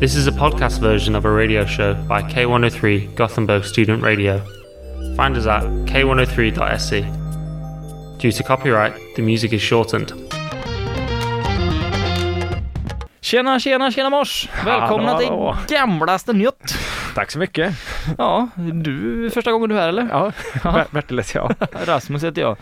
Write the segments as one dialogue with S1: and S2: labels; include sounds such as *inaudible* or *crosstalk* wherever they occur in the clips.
S1: This is a podcast version of a radio show by K103 Gothenburg Student Radio. Find us at k103.se. E. Due to copyright, the music is shortened. *laughs*
S2: Tjena, tjena, tjena mors! Välkomna
S3: Hallå,
S2: till
S3: hallå.
S2: gamlaste nytt!
S3: Tack så mycket.
S2: Ja, du, första gången du är här eller?
S3: *laughs* Ja, Ber- Bertil heter jag.
S2: *laughs* Rasmus heter jag.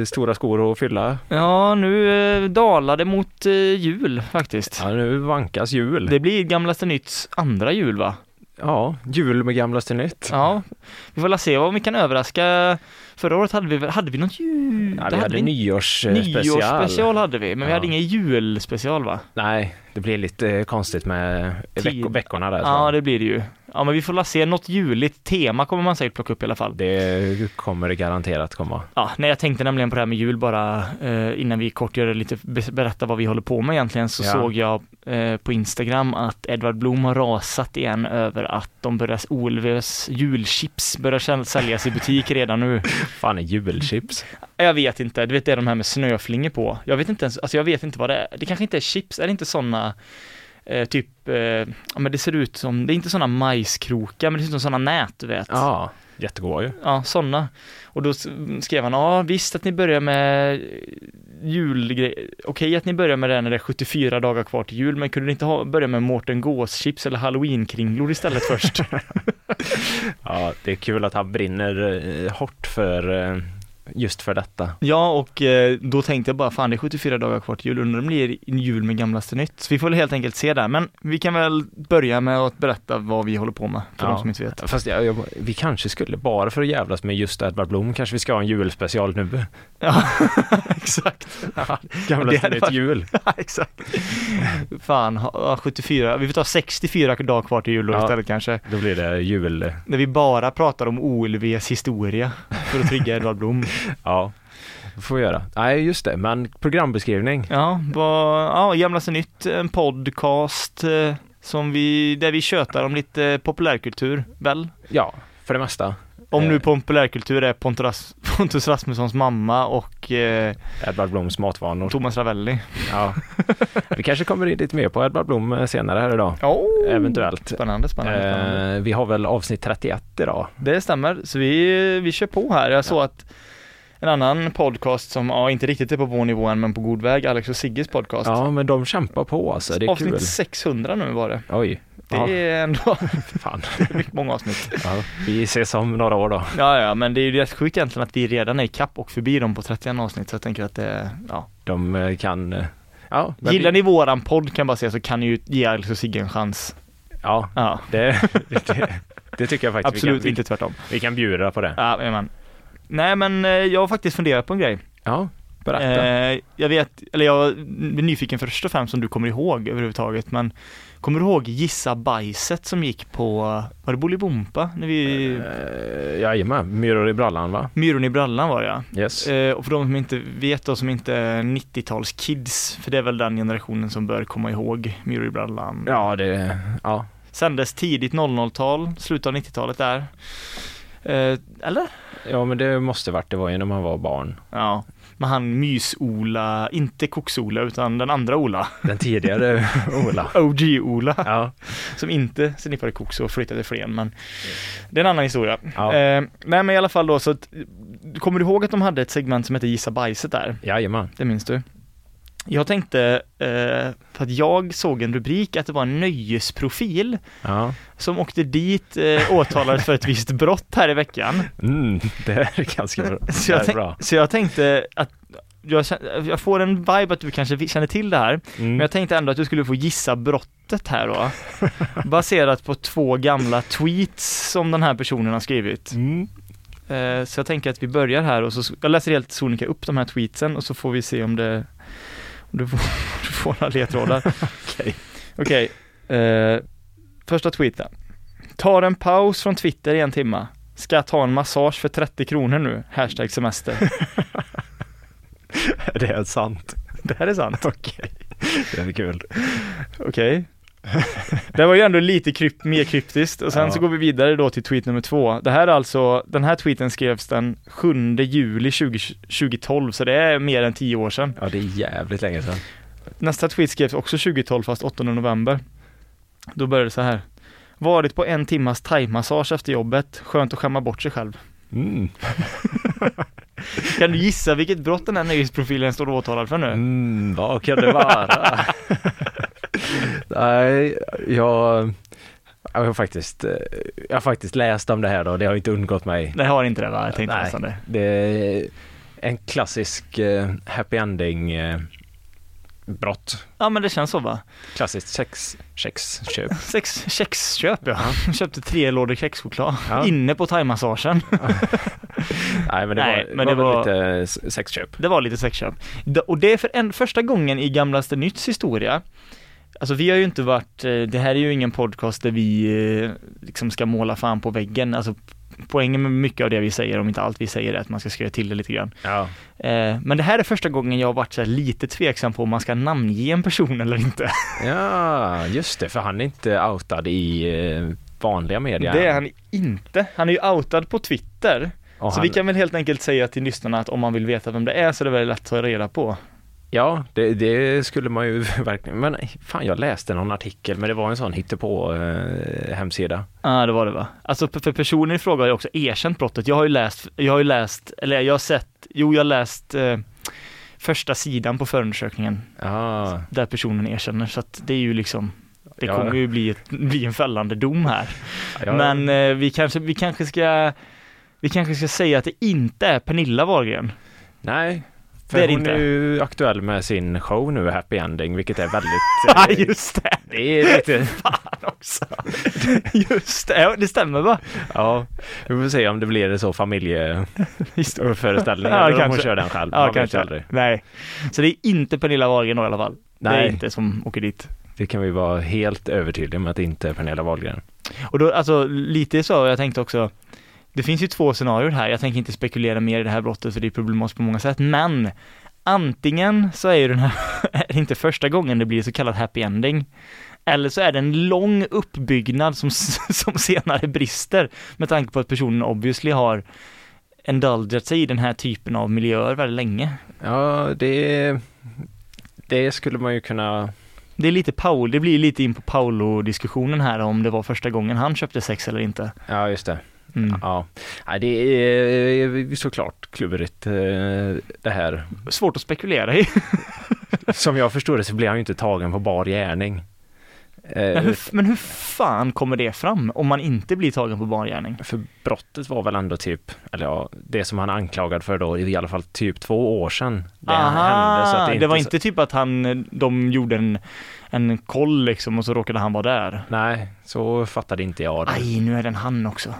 S2: *laughs*
S3: Eh, Stora skor att fylla.
S2: Ja, nu eh, dalade mot eh, jul faktiskt.
S3: Ja, nu vankas jul.
S2: Det blir gamlaste nytts andra jul va?
S3: Ja, jul med gamlaste nytt.
S2: Ja, vi får la se om vi kan överraska. Förra året hade vi, väl- hade vi något jul?
S3: Ja,
S2: Det
S3: vi hade
S2: vi
S3: nyårsspecial.
S2: Nyårsspecial hade vi, men vi
S3: Ja.
S2: hade ingen julspecial va?
S3: Nej, det blir lite eh, konstigt med
S2: Tid.
S3: veck- veckorna där.
S2: Ja,
S3: det...
S2: det blir det ju. Ja, men vi får la se. Något juligt tema kommer man säkert plocka upp i alla fall.
S3: det kommer det garanterat komma.
S2: Ja, nej, jag tänkte nämligen på det här med jul bara eh, innan vi kort gör det lite, be- berätta vad vi håller på med egentligen, så
S3: Ja.
S2: såg jag eh, på Instagram att Edvard Blom har rasat igen över att de börjar, OLVs julchips börjar säl- säljas i butik redan nu.
S3: Fan,
S2: *laughs*
S3: är julchips?
S2: Jag vet inte, du vet det är de här med snöflingor på. Jag vet inte ens, alltså jag vet inte vad det är. Det kanske inte är chips, är det inte sådana eh, typ, eh, ja men det ser ut som, det är inte sådana majskrokar, men det ser ut som sådana nät du vet.
S3: Ja, jättegoda ju.
S2: Ja, sådana. Och då s- skrev han, ja visst att ni börjar med julgrejer, okej att ni börjar med det när det är 74 dagar kvar till jul, men kunde ni inte ha, börja med Mårten Gås-chips eller halloweenkringlor
S3: *laughs*
S2: istället först?
S3: Ja, det är kul att han brinner eh, hårt för eh, just för detta.
S2: ja, och eh, då tänkte jag bara, fan det är 74 dagar kvar till jul, undrar om det blir jul med gamlaste nytt? Så vi får väl helt enkelt se där, men vi kan väl börja med att berätta vad vi håller på med, för
S3: Ja.
S2: de som inte
S3: *laughs*
S2: vet.
S3: Fast jag, jag, vi kanske skulle, bara för att jävlas med just Edvard Blom, kanske vi ska ha en julspecial nu.
S2: Ja, *laughs* exakt.
S3: Gamla
S2: *laughs* Det hade
S3: Nytt
S2: varit-
S3: Jul.
S2: exakt. Fan, ha- 74, vi får ta 64 dagar kvar till jul då
S3: Ja.
S2: istället kanske.
S3: Då blir det jul.
S2: När vi bara pratar om OLVs historia för att trigga Edvard Blom.
S3: Ja, det får vi göra. Nej, just det, men programbeskrivning.
S2: *laughs* Ja, vad, ja, Gamlaste Nytt, en podcast eh, som vi, där vi tjötar om lite populärkultur, väl?
S3: Ja, för det mesta.
S2: Om
S3: Eh.
S2: nu populärkultur är Pontus, Ras- Pontus Rasmussons mamma och eh,
S3: Edvard Bloms matvanor.
S2: Thomas Ravelli.
S3: Ja. Vi kanske kommer in lite mer på Edvard Blom eh, senare här idag.
S2: Oh.
S3: Eventuellt.
S2: Spännande, spännande. spännande.
S3: Eh, vi har väl avsnitt 31 idag.
S2: Det stämmer, så vi, vi kör på här. Jag såg att en annan podcast som, ja, inte riktigt är på vår nivå än, men på god väg, Alex och Sigges podcast.
S3: Ja, men de kämpar på alltså. Det är
S2: Avsnitt
S3: kul.
S2: 600 nu var det.
S3: Oj.
S2: Det
S3: Ja,
S2: är ändå *laughs*
S3: fan.
S2: mycket många avsnitt.
S3: Ja, vi ses om några år då.
S2: Ja, ja, men det är ju rätt sjukt egentligen att vi redan är i kapp och förbi dem på 31 avsnitt, så jag tänker att det, ja.
S3: De eh, kan... eh, Ja, men
S2: Gillar
S3: vi-
S2: ni våran podd kan jag bara säga så kan ni ju ge Alex och Sigge en chans.
S3: Ja,
S2: Ja,
S3: det, det, det tycker jag faktiskt.
S2: absolut
S3: vi kan,
S2: inte tvärtom.
S3: Vi, vi kan bjuda på det.
S2: Ja, men. Nej, men eh, jag har faktiskt funderat på en grej.
S3: Ja, berätta.
S2: Eh, jag vet, eller jag är nyfiken först och främst om du kommer ihåg överhuvudtaget, men kommer du ihåg Gissa bajset som gick på, var det Bolibompa? När vi,
S3: Eh, jajamän, myror i brallan va?
S2: Myron i brallan var det ja.
S3: Yes.
S2: Eh, och för de som inte vet då, som inte är 90-talskids, för det är väl den generationen som bör komma ihåg Myror i brallan.
S3: Ja, det, ja.
S2: Sändes tidigt 00-tal, slutet av 90-talet där. Eh, eller?
S3: ja, men det måste varit, det var ju när man var barn.
S2: Ja. Men han Mys-Ola, inte Koks-Ola utan den andra Ola, *laughs*
S3: Den *laughs* tidigare Ola.
S2: OG-Ola,
S3: Ja,
S2: som inte sniffade koks och flyttade till Flen, men det är en annan historia.
S3: ja.
S2: Eh, nej men i alla fall då, så att, kommer du ihåg att de hade ett segment som hette Gissa bajset där?
S3: jajamän.
S2: Det minns du? Jag tänkte, eh, för att jag såg en rubrik att det var en nöjesprofil
S3: Ja.
S2: som åkte dit, eh, åtalades för ett visst brott här i veckan.
S3: Mm, det är ganska *laughs* bra.
S2: Så
S3: Det
S2: jag,
S3: är
S2: tänk,
S3: bra.
S2: så jag tänkte att jag, kän- jag får en vibe att du kanske vi- känner till det här, men
S3: Mm.
S2: jag tänkte ändå att du skulle få gissa brottet här
S3: *laughs*
S2: då. Baserat på två gamla tweets som den här personen har skrivit.
S3: Mm. *laughs*
S2: Eh, Så jag tänker att vi börjar här och så, jag läser helt sonika upp de här tweetsen och så får vi se om det, om du får, *laughs* du får några ledtrådar.
S3: *laughs* Okej.
S2: Okej, eh, första tweeten. Tar en paus från Twitter i en timma. Ska ta en massage för 30 kronor nu, hashtag
S3: *laughs*
S2: semester.
S3: Det är sant.
S2: Det här är sant.
S3: Okej. Det är kul. *laughs*
S2: Okej. Det var ju ändå lite kryp, mer kryptiskt och sen
S3: Ja.
S2: så går vi vidare då till tweet nummer två. Det här är alltså, den här tweeten skrevs den 7 juli 20, 2012 så det är mer än 10 år sedan.
S3: Ja, det är jävligt länge sedan.
S2: Nästa tweet skrevs också 2012 fast 8 november. Då började det så här. Varit på en timmas thaimassage efter jobbet. Skönt att skämma bort sig själv.
S3: Mm.
S2: Kan du gissa vilket brott den här nöjesprofilen står åtalad för nu?
S3: Mm, vad kan det vara? *laughs* Nej, jag, jag, har faktiskt, eh, jag har faktiskt läst om det här då. Det har inte undgått mig.
S2: Det har inte det va? Jag tänkte
S3: Nej.
S2: nästan det.
S3: Det är en klassisk eh, happy ending eh, brott.
S2: Ja men det känns så va?
S3: Klassiskt sex,
S2: *laughs*
S3: sexköp.
S2: Sex, kexköp ja. *laughs* Köpte tre lådor kexchoklad.
S3: Ja.
S2: Inne på thaimassagen. *laughs*
S3: Nej, men det
S2: Nej,
S3: var,
S2: men
S3: var
S2: det
S3: väl
S2: var-
S3: lite s- sexköp.
S2: Det var lite sexköp. Da- Och det är för en, första gången i Gamlaste Nytts historia. Alltså vi har ju inte varit, eh, det här är ju ingen podcast där vi eh, liksom ska måla fan på väggen. Alltså poängen med mycket av det vi säger, om inte allt vi säger, är att man ska skriva till det lite grann.
S3: Ja.
S2: Eh, Men det här är första gången jag har varit så här lite tveksam på om man ska namnge en person eller
S3: *laughs*
S2: inte.
S3: ja, just det, för han är inte outad i eh, vanliga media.
S2: Det är han inte. Han är ju outad på Twitter.
S3: Och
S2: Så
S3: han-
S2: vi kan väl helt enkelt säga till lyssnarna att om man vill veta vem det är så är det väldigt lätt att ta reda på.
S3: Ja, det, det skulle man ju *laughs* verkligen. Men fan, jag läste någon artikel, men det var en sån hittepå eh, hemsida.
S2: Ja, det var det va? Alltså för för personen i fråga har ju också erkänt brottet. Jag har ju läst, jag har ju läst, eller jag har sett, jo jag har läst eh, första sidan på förundersökningen
S3: Ja,
S2: där personen erkänner. Så att det är ju liksom, det
S3: Ja.
S2: kommer ju bli, ett, bli en fällande dom här.
S3: ja,
S2: Men eh, vi, kanske, vi kanske ska vi kanske ska säga att det inte är Pernilla
S3: *laughs*
S2: Wahlgren.
S3: nej. För
S2: det är det
S3: hon
S2: inte.
S3: är ju aktuell med sin show nu, Happy Ending, vilket är
S2: *laughs*
S3: väldigt... eh,
S2: just det! *laughs*
S3: det är lite...
S2: Också. *laughs* Just det, ja, det stämmer va?
S3: Ja, vi får se om det blir en så
S2: Just *laughs*
S3: familjeföreställning.
S2: Ja,
S3: eller om hon
S2: kanske.
S3: kör den själv.
S2: Ja,
S3: Man vet ju
S2: kanske.
S3: aldrig.
S2: Nej. Så det är inte Pernilla Wahlgren då i alla fall. Det är
S3: Nej.
S2: inte som åker dit.
S3: Det kan vi vara helt övertydliga med att det inte är Pernilla Wahlgren.
S2: Och då, alltså lite så, jag tänkte också, det finns ju två scenarier här, jag tänker inte spekulera mer i det här brottet för det är problematiskt på många sätt, men antingen så är ju den här, *laughs* är det inte första gången det blir så kallat happy ending, eller så är det en lång uppbyggnad som, *laughs* som senare brister, med tanke på att personen obviously har indulgat sig i den här typen av miljöer väldigt länge.
S3: Ja, det... Det skulle man ju kunna...
S2: Det är lite Paul, det blir lite in på Paolo-diskussionen här om det var första gången han köpte sex eller inte.
S3: Ja, just det.
S2: Mm.
S3: Ja, Nej, det är eh, såklart klurigt eh, det här.
S2: Svårt att spekulera i.
S3: *laughs* Som jag förstod det så blir han ju inte tagen på bar gärning.
S2: Men
S3: Eh,
S2: hur, men hur fan kommer det fram om man inte blir tagen på bar gärning?
S3: För brottet var väl ändå typ, eller ja, det som han är anklagad för då, i alla fall typ två år sedan. Det hände, så att det,
S2: det,
S3: inte
S2: var
S3: så-
S2: inte typ att han, de gjorde en, en koll liksom och så råkade han vara där.
S3: Nej, så fattade inte jag det.
S2: Aj, nu är den han också.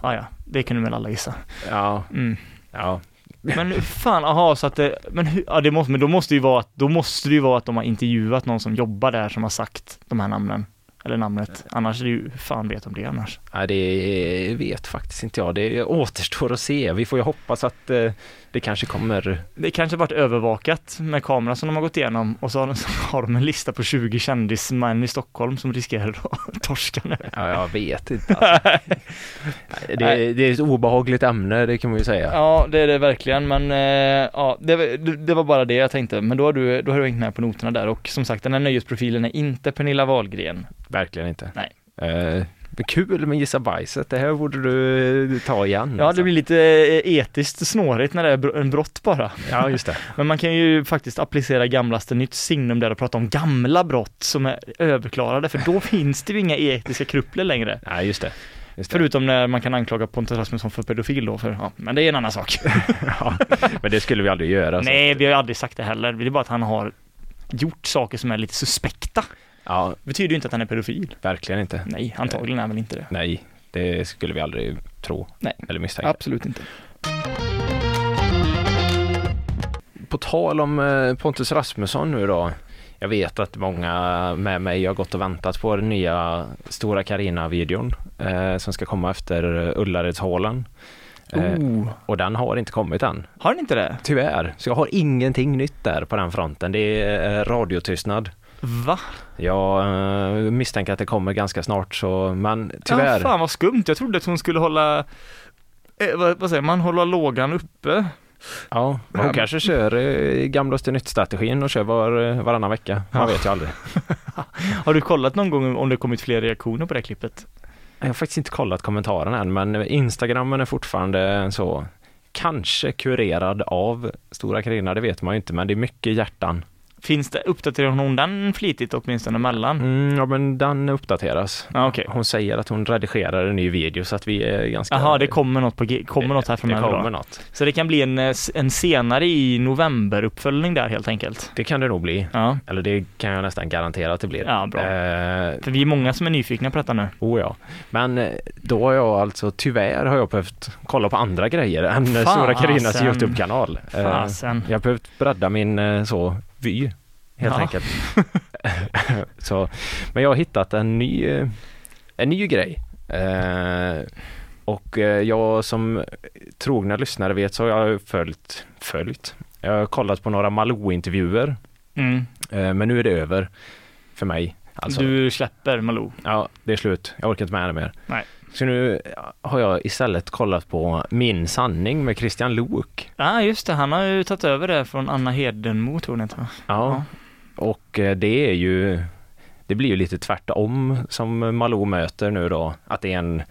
S2: Ah, ja, det kunde väl alla gissa.
S3: Ja,
S2: Mm.
S3: ja.
S2: Men hur fan, aha, så att det, men, hur, ja, det måste, men då måste det ju vara att, då måste det ju vara att de har intervjuat någon som jobbar där som har sagt de här namnen. Eller namnet. Annars är det ju, hur fan vet om det annars.
S3: Nej, det vet faktiskt inte jag. Det återstår att se. Vi får ju hoppas att eh, det kanske kommer
S2: Det kanske varit övervakat med kamera som de har gått igenom och så har de, *laughs* så har de en lista på 20 kändismän i Stockholm som riskerar att *laughs* torska nu.
S3: Ja, jag vet inte. Alltså. Nej, det, det är ett obehagligt ämne, det kan man ju säga.
S2: *laughs* Ja, det är det verkligen, men eh, ja, det, var- det- det var bara det jag tänkte. Men då har du, då har du hängt med på noterna där och som sagt, den här nöjesprofilen är inte Pernilla Wahlgren.
S3: Verkligen inte.
S2: Nej.
S3: Eh, men kul med Gissa bajset, det här borde du ta igen.
S2: Ja,
S3: alltså.
S2: det blir lite eh, etiskt snårigt när det är br- en brott bara.
S3: ja just det.
S2: Men man kan ju faktiskt applicera gamlaste nytt signum där och prata om gamla brott som är överklarade, för då finns det ju inga etiska krupler längre.
S3: Nej, just det. Just det.
S2: Förutom när man kan anklaga Pontus Rasmusson för pedofil då, för, ja, men det är en annan sak.
S3: Ja, *laughs* men det skulle vi aldrig göra. alltså. så.
S2: Nej, vi har ju aldrig sagt det heller. Det är bara att han har gjort saker som är lite suspekta.
S3: Ja,
S2: Betyder ju inte att han är pedofil.
S3: verkligen inte.
S2: Nej, antagligen är han väl inte det.
S3: Nej, det skulle vi aldrig tro
S2: Nej.
S3: eller misstänka.
S2: Absolut inte.
S3: På tal om eh, Pontus Rasmusson nu då. Jag vet att många med mig har gått och väntat på den nya Stora Carina-videon eh, som ska komma efter eh, Ullaredshallen. Eh,
S2: Oh.
S3: och den har inte kommit än,
S2: Har han inte det?
S3: tyvärr. Så jag har ingenting nytt där på den fronten. Det är eh, radiotystnad.
S2: Va?
S3: Jag eh, misstänker att det kommer ganska snart så, men
S2: Tyvärr.
S3: tyvärr.
S2: Ja, fan vad skumt. Jag trodde att hon skulle hålla, eh, vad, vad säger man, hålla lågan uppe.
S3: Ja, hon kanske kör eh, gamlaste nytt-strategin och kör var, eh, varannan vecka. Man vet ju aldrig.
S2: Har du kollat någon gång om det kommit fler reaktioner på det här klippet?
S3: Jag har faktiskt inte kollat kommentaren än, men eh, Instagrammen är fortfarande så kanske kurerad av Stora Carina, det vet man ju inte, men det är mycket hjärtan.
S2: Finns det, uppdaterar hon den flitigt åtminstone mellan?
S3: Mm, ja, men den uppdateras.
S2: Ja, okej.
S3: Hon säger att hon redigerar en ny video så att vi är ganska...
S2: Jaha, det kommer något på G- kommer något här
S3: Eh, det
S2: framöver
S3: kommer
S2: då.
S3: något.
S2: Så det kan bli en, eh, s- en senare i november-uppföljning där helt enkelt.
S3: Det kan det nog bli.
S2: Ja,
S3: Eller det kan jag nästan garantera att det blir.
S2: ja bra.
S3: Eh,
S2: För vi är många som är nyfikna på detta nu.
S3: oh ja. Men eh, då har jag alltså, tyvärr har jag behövt kolla på andra grejer än eh, Stora Carinas
S2: Fasen.
S3: YouTube-kanal. Eh,
S2: Fasen.
S3: Jag har behövt bredda min eh, så vy helt
S2: Ja.
S3: enkelt. *laughs* så, men jag har hittat en ny, eh, en ny grej. Eh, och eh, jag som trogna lyssnare vet så har jag följt, följt. Jag har kollat på några Malou-intervjuer,
S2: Mm.
S3: eh, men nu är det över för mig. Alltså,
S2: Du släpper Malou.
S3: Ja, det är slut. Jag orkar inte med det mer.
S2: Nej.
S3: Så nu har jag istället kollat på Min sanning med Christian Lok.
S2: Ja, ah, just det. Han har ju tagit över det från Anna Hedenmo, tror jag inte. Ja.
S3: Ja, och eh, det är ju, det blir ju lite tvärtom som Malou möter nu då, att det är en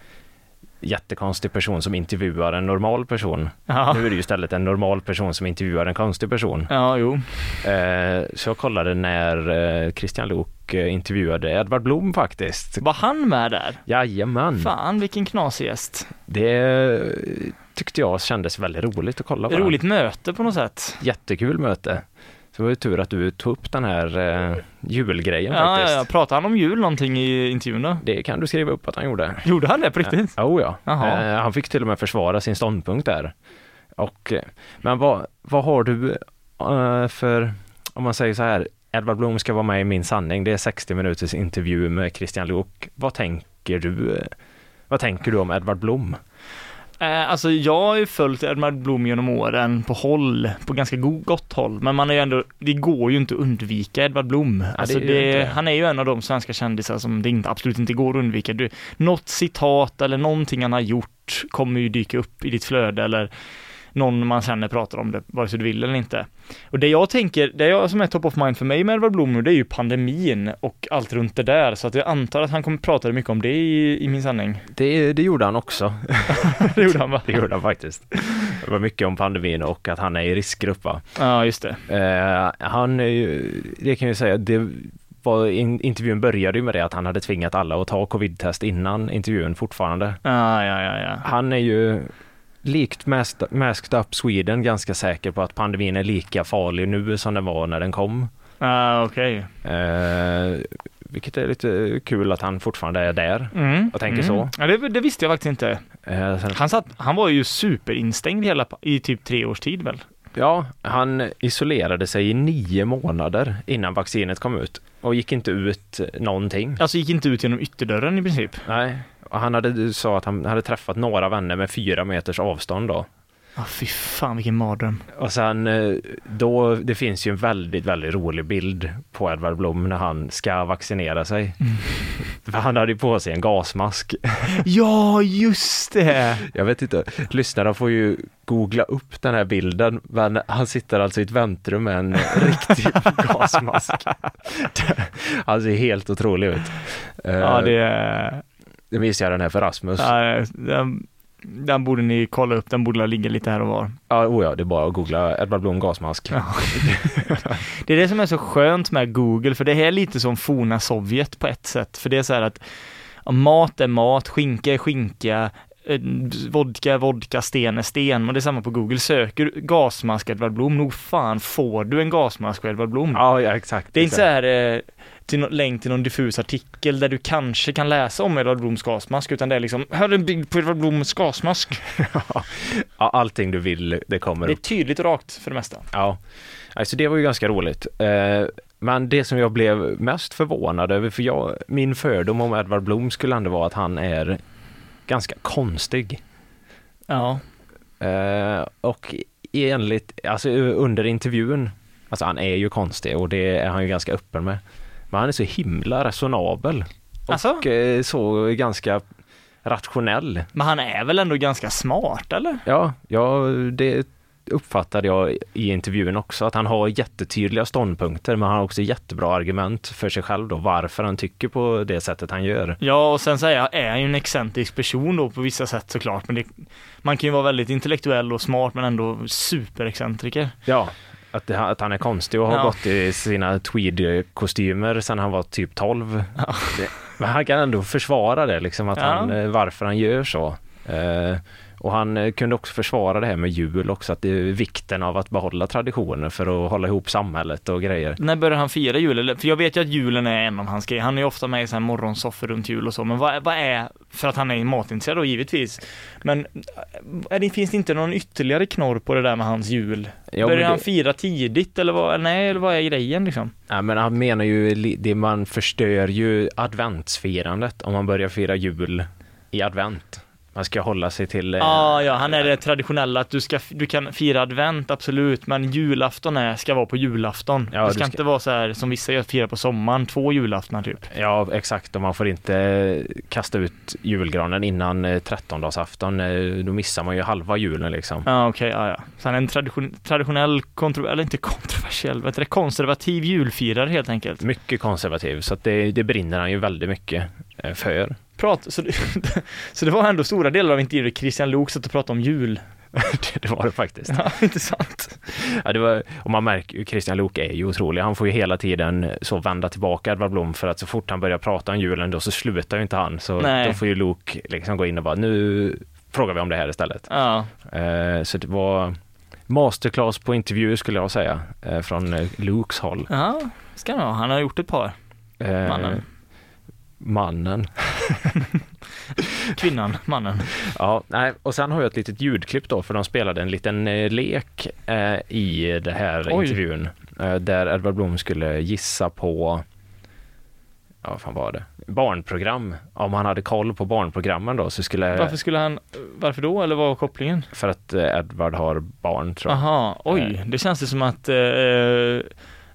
S3: jättekonstig person som intervjuar en normal person.
S2: Ja.
S3: Nu är det ju istället en normal person som intervjuar en konstig person.
S2: ja, jo.
S3: Eh, Så jag kollade när eh, Christian Lok eh, intervjuade Edvard Blom faktiskt.
S2: Var han med där?
S3: Jajamän,
S2: Fan, vilken knasig gäst.
S3: det eh, tyckte jag kändes väldigt roligt att kolla på. den.
S2: Roligt möte på något sätt.
S3: Jättekul möte. Så det var ju tur att du tog upp den här eh, julgrejen
S2: Ja, ja,
S3: faktiskt.
S2: ja. Pratade han om jul någonting i intervjun då?
S3: Det kan du skriva upp att han gjorde.
S2: Gjorde han det på riktigt?
S3: Oh, ja.
S2: Jaha.
S3: Eh, han fick till och med försvara sin ståndpunkt där. Och, eh, men vad, vad har du eh, för, om man säger så här, Edvard Blom ska vara med i Min sanning, det är 60 minuters intervju med Christian Lok. Vad tänker du? eh, Vad tänker du om Edvard Blom?
S2: Eh, alltså jag har ju följt Edvard Blom genom åren på håll, på ganska go- gott håll, men man är ju ändå, det går ju inte att undvika Edvard Blom. Alltså
S3: det är ju
S2: det,
S3: inte det.
S2: han är ju en av de svenska kändisar som det inte, absolut inte går att undvika. Du, något citat eller någonting han har gjort kommer ju dyka upp i ditt flöde eller någon man känner pratar om det, vare sig du vill eller inte. Och det jag tänker, det jag som är top of mind för mig med Edvard Blom nu, det är ju pandemin och allt runt det där, så att jag antar att han kommer prata mycket om det i, i min sanning. *laughs*
S3: Det, det gjorde han också.
S2: det gjorde han va?
S3: Det gjorde han faktiskt. Det var mycket om pandemin och att han är i riskgrupp va?
S2: Ja, just det.
S3: Eh, han är ju, det kan jag ju säga, det var, in, intervjun började ju med det att han hade tvingat alla att ta covid-test innan intervjun fortfarande.
S2: Ja, Ah, ja, ja, ja.
S3: Han är ju likt Mas- Masked Up Sweden ganska säker på att pandemin är lika farlig nu som den var när den kom.
S2: Ah, okej.
S3: Eh, vilket är lite kul att han fortfarande är där.
S2: Mm.
S3: Jag tänker
S2: mm.
S3: så.
S2: Ja, det, det visste jag faktiskt inte.
S3: Eh, sen,
S2: Han, satt, han var ju superinstängd hela, pa- i typ tre års tid väl?
S3: ja, han isolerade sig i nio månader innan vaccinet kom ut och gick inte ut någonting.
S2: Alltså gick inte ut genom ytterdörren i princip.
S3: Nej, och han hade, du sa att han hade träffat några vänner med fyra meters avstånd då.
S2: Ja, Ah, fy fan vilken mardröm.
S3: Och sen eh, då, det finns ju en väldigt, väldigt rolig bild på Edvard Blom när han ska vaccinera sig. *laughs* För han hade ju på sig en gasmask.
S2: *laughs* Ja, just det!
S3: *laughs* Jag vet inte, lyssnarna får ju googla upp den här bilden, men han sitter alltså i ett väntrum med en riktig gasmask. Han ser helt otrolig ut. Eh,
S2: Ja, det...
S3: Nu visar jag den här för Rasmus. Ja,
S2: ja, den, den borde ni kolla upp, den borde ligga lite här och var.
S3: oh ja, det är bara att googla Edvard Blom gasmask.
S2: Ja. Det är det som är så skönt med Google, för det här är lite som forna Sovjet på ett sätt, för det är så här att ja, mat är mat, skinka är skinka, eh, vodka är vodka, sten är sten, och det är samma på Google. Söker du gasmask Edvard Blom, nog fan får du en gasmask och Edvard Blom.
S3: *laughs* Ja, ja exakt.
S2: Det är inte
S3: exakt.
S2: så här eh, till nå- länk till någon diffus artikel där du kanske kan läsa om Edvard Bloms gasmask, utan det är liksom, här är en bild på Edvard Bloms gasmask.
S3: *laughs* Ja, allting du vill, det kommer
S2: Det är
S3: upp.
S2: tydligt och rakt för det mesta.
S3: Ja. Alltså det var ju ganska roligt. Eh, Men det som jag blev mest förvånad över, för jag, min fördom om Edvard Blom skulle ändå vara att han är ganska konstig.
S2: Ja.
S3: Eh, Och enligt, alltså under intervjun, alltså han är ju konstig och det är han ju ganska öppen med. Men han är så himla resonabel. Och
S2: Alltså?
S3: eh, så ganska rationell.
S2: Men han är väl ändå ganska smart, eller?
S3: Ja, ja det uppfattade jag i intervjun också, att han har jättetydliga ståndpunkter men han har också jättebra argument för sig själv då, varför han tycker på det sättet han gör.
S2: Ja, och sen så är, jag, är jag ju en excentrisk person då på vissa sätt såklart, men det, man kan ju vara väldigt intellektuell och smart men ändå superexcentriker.
S3: Ja, att, det, att han är konstig och har
S2: Ja.
S3: gått i sina tweed-kostymer sedan han var typ 12. Det, men han kan ändå försvara det, liksom att
S2: Ja.
S3: han, eh, varför han gör så. Eh, och han eh, kunde också försvara det här med jul också, att det är vikten av att behålla traditioner för att hålla ihop samhället och grejer.
S2: När börjar han fira jul? Eller- För jag vet ju att julen är en av hans grejer. Han är ju ofta med i så här morgonsoffer runt jul och så, men vad, vad är, för att han är matintresserad då givetvis. Men är det, finns det inte någon ytterligare knorr på det där med hans jul?
S3: Ja, men
S2: börjar han
S3: det,
S2: fira tidigt eller vad, nej, eller vad är grejen liksom?
S3: ja, men han menar ju, li- det man förstör ju adventsfirandet om man börjar fira jul i advent. Man ska hålla sig till... eh,
S2: Ah, ja, han är det traditionella att du, ska, du kan fira advent, absolut, men julafton är, ska vara på julafton.
S3: Ja,
S2: det
S3: du
S2: ska,
S3: ska-
S2: inte vara så här som vissa gör, fira på sommaren, två julaftnar typ.
S3: Ja, exakt. Och man får inte kasta ut julgranen innan eh, trettondagsafton. Eh, Då missar man ju halva julen liksom.
S2: Ja, okej, ja, ja. Så han är en tradition, traditionell, kontro, eller inte kontroversiell, vad heter det, konservativ julfirare helt enkelt.
S3: Mycket konservativ, så att det, det brinner han ju väldigt mycket eh, för. *laughs*
S2: Prat, så, det- *laughs* så det var ändå stora delar av intervjun där Christian Lok satt och pratade om jul.
S3: Det- det var det faktiskt.
S2: *laughs* Ja, intressant.
S3: Ja, det var, och man märker ju, Christian Lok är ju otrolig. Han får ju hela tiden så vända tillbaka Edvard Blom för att så fort han börjar prata om julen då så slutar ju inte han. Så
S2: Nej.
S3: då får ju Lok liksom gå in och bara, nu frågar vi om det här istället.
S2: Ja,
S3: Eh, så det var masterclass på intervjuer skulle jag säga, eh, från eh, Lokes håll.
S2: ja ska han ha. Han har gjort ett par,
S3: Eh,
S2: mannen,
S3: Mannen.
S2: kvinnan, mannen.
S3: Ja, nej, och sen har jag ett litet ljudklipp då, för de spelade en liten eh, lek eh, i det här
S2: Oj.
S3: intervjun. Eh, där Edvard Blom skulle gissa på, ja vad fan var det? Barnprogram. Om han hade koll på barnprogrammen då så skulle,
S2: Varför skulle han, varför då, eller vad var kopplingen?
S3: för att eh, Edvard har barn tror jag.
S2: Aha, oj,
S3: Eh.
S2: det känns det som att eh,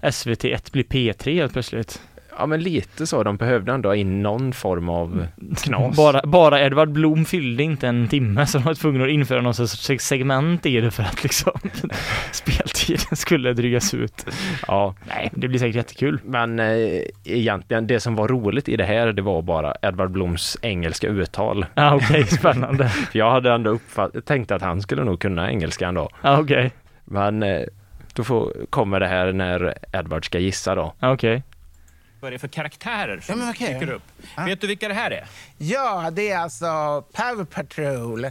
S2: SVT1 blir P3 helt plötsligt.
S3: Ja men lite så, de behövde ändå ha in någon form
S2: Mm.
S3: av knas.
S2: *laughs* Bara, bara Edvard Blom fyllde inte en timme så de var tvungna att införa någon sorts seg- segment i det för att liksom *laughs* speltiden skulle drygas ut.
S3: Ja,
S2: Nej, det blir säkert jättekul.
S3: men eh, egentligen det som var roligt i det här det var bara Edvard Bloms engelska uttal.
S2: Ja, Ah,
S3: *laughs*
S2: okej, spännande.
S3: För jag hade ändå uppfatt- tänkt att han skulle nog kunna engelska ändå.
S2: Ja, Ah, okej,
S3: Men eh, då får, kommer det här när Edward ska gissa då.
S2: ja, ah, okej.
S4: vad det är för karaktärer som
S5: Ja, men okej.
S4: dyker upp. Vet du vilka det här är?
S5: Ja, det är alltså Power Patrol.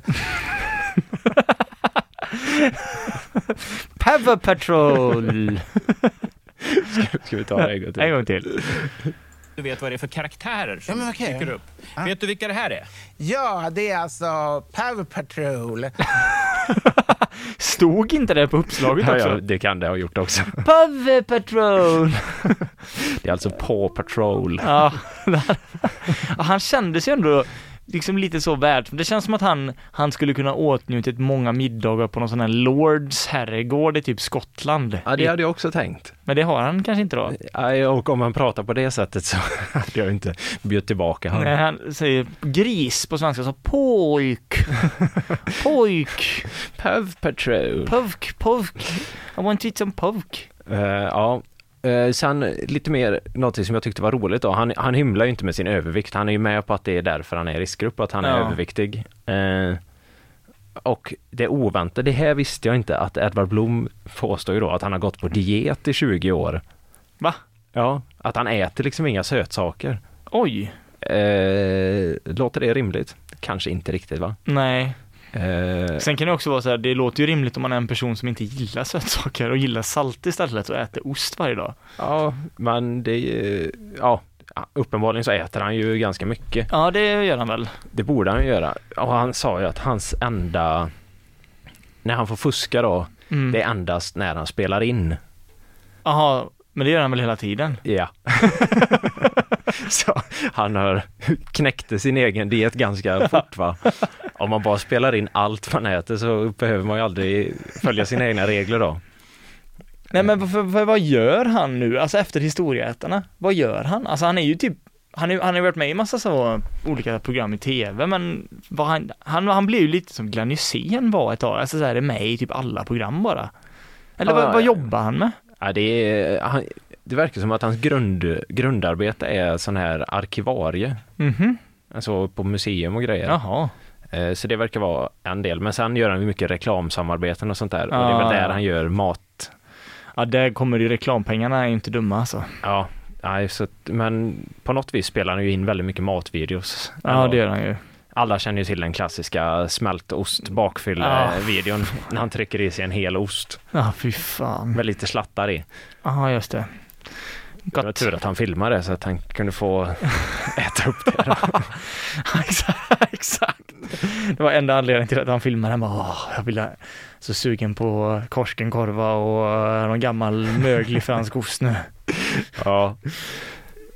S2: Power Patrol!
S3: *laughs* Ska vi ta det en gång
S2: en
S3: till?
S2: gång till.
S4: Du vet vad det är för karaktärer som
S5: Ja, men okej.
S4: dyker upp. Vet du vilka det här är?
S5: Ja, det är alltså Power Patrol.
S2: Stod inte det på uppslaget
S3: Ja, ja,
S2: också?
S3: det kan det ha gjort också. *laughs*
S2: Power Patrol!
S3: Det är alltså Paw Patrol.
S2: Ja, *laughs* Ja, han kändes ju ändå liksom lite så värd. Det känns som att han, han skulle kunna åtnjutit många middagar på någon sån här Lords herrgård i typ Skottland.
S3: Ja, det hade jag också tänkt.
S2: Men det har han kanske inte då.
S3: Nej, Och om man pratar på det sättet så *laughs* hade jag inte bjudit tillbaka
S2: Nej,
S3: honom.
S2: han säger gris på svenska, så
S3: *laughs*
S2: pojk, pojk,
S3: Paw Patrol.
S2: pojk, pojk. I want to eat some pojk.
S3: Eh, ja. Eh, sen lite mer någonting som jag tyckte var roligt då. Han, han hymlar ju inte med sin övervikt. Han är ju med på att det är därför han är i riskgrupp, att han är
S2: Ja.
S3: överviktig. Eh, och det oväntade, det här visste jag inte, att Edvard Blom påstår ju då att han har gått på diet i 20 år.
S2: Va?
S3: Ja, att han äter liksom inga sötsaker.
S2: Oj.
S3: Eh, låter det rimligt? Kanske inte riktigt va?
S2: Nej.
S3: Eh,
S2: Sen kan det också vara så här, det låter ju rimligt om man är en person som inte gillar sötsaker och gillar salt istället och äter ost varje dag.
S3: ja, men det är ju- ja, uppenbarligen så äter han ju ganska mycket.
S2: Ja, det gör han väl.
S3: Det borde han ju göra. Och han sa ju att hans enda... När han får fuska då,
S2: Mm.
S3: det är endast när han spelar in.
S2: Jaha, men det gör han väl hela tiden?
S3: Ja. så han har knäckte sin egen diet ganska fort va. Om man bara spelar in allt man äter så behöver man ju aldrig följa sina egna regler då.
S2: Nej men vad- vad- vad gör han nu, alltså efter Historieätarna? Vad gör han? Alltså han är ju typ han har han har ju varit med i massa så olika program i tv, men vad han, han, han blev ju lite som Glenn Hysén var ett tag, alltså så här, är med i typ alla program bara. Eller
S3: Ja,
S2: vad,
S3: ja,
S2: vad
S3: ja.
S2: jobbar han med?
S3: Ja, det, är, han, det verkar som att hans grund, grundarbete är sån här arkivarie,
S2: Mhm,
S3: alltså på museum och grejer.
S2: jaha.
S3: Eh, Så det verkar vara en del, men sen gör han ju mycket reklamsamarbeten och sånt där. Och det är
S2: Ja,
S3: väl där
S2: ja.
S3: han gör mat.
S2: Ja, där kommer ju reklampengarna, är ju inte dumma alltså.
S3: Ja, nej, så, att- men på något vis spelar han ju in väldigt mycket matvideos.
S2: Ja, det gör han ju.
S3: Alla känner ju till den klassiska smältost
S2: Ah.
S3: bakfylla-videon när han trycker i sig en hel ost
S2: Ja, fy fan.
S3: med lite slattar i.
S2: Ja, just det.
S3: Det var
S2: Gott.
S3: tur att han filmade så att han
S2: *laughs*
S3: kunde få äta upp det.
S2: Exakt, Exakt. Det var enda anledningen till att han filmade. Han bara, Åh, jag ville så sugen på korskenkorva och eh, någon gammal möglig fransk ost nu.
S3: Ja.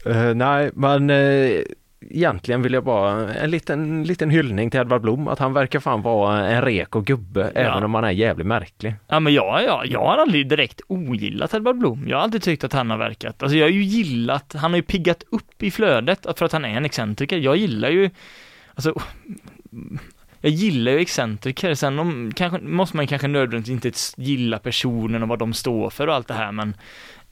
S3: Eh, nej, men eh, egentligen vill jag bara en liten, liten hyllning till Edvard Blom, att han verkar fan vara en reko gubbe,
S2: Ja.
S3: även om han är jävligt märklig.
S2: Ja men jag, jag, jag har aldrig direkt ogillat Edvard Blom. Jag har alltid tyckt att han har verkat, alltså jag har ju gillat, han har ju piggat upp i flödet för att han är en excentriker. Jag gillar ju, alltså, jag gillar ju excentriker. Sen om, kanske, måste man kanske nödvändigtvis inte s- gilla personen och vad de står för och allt det här men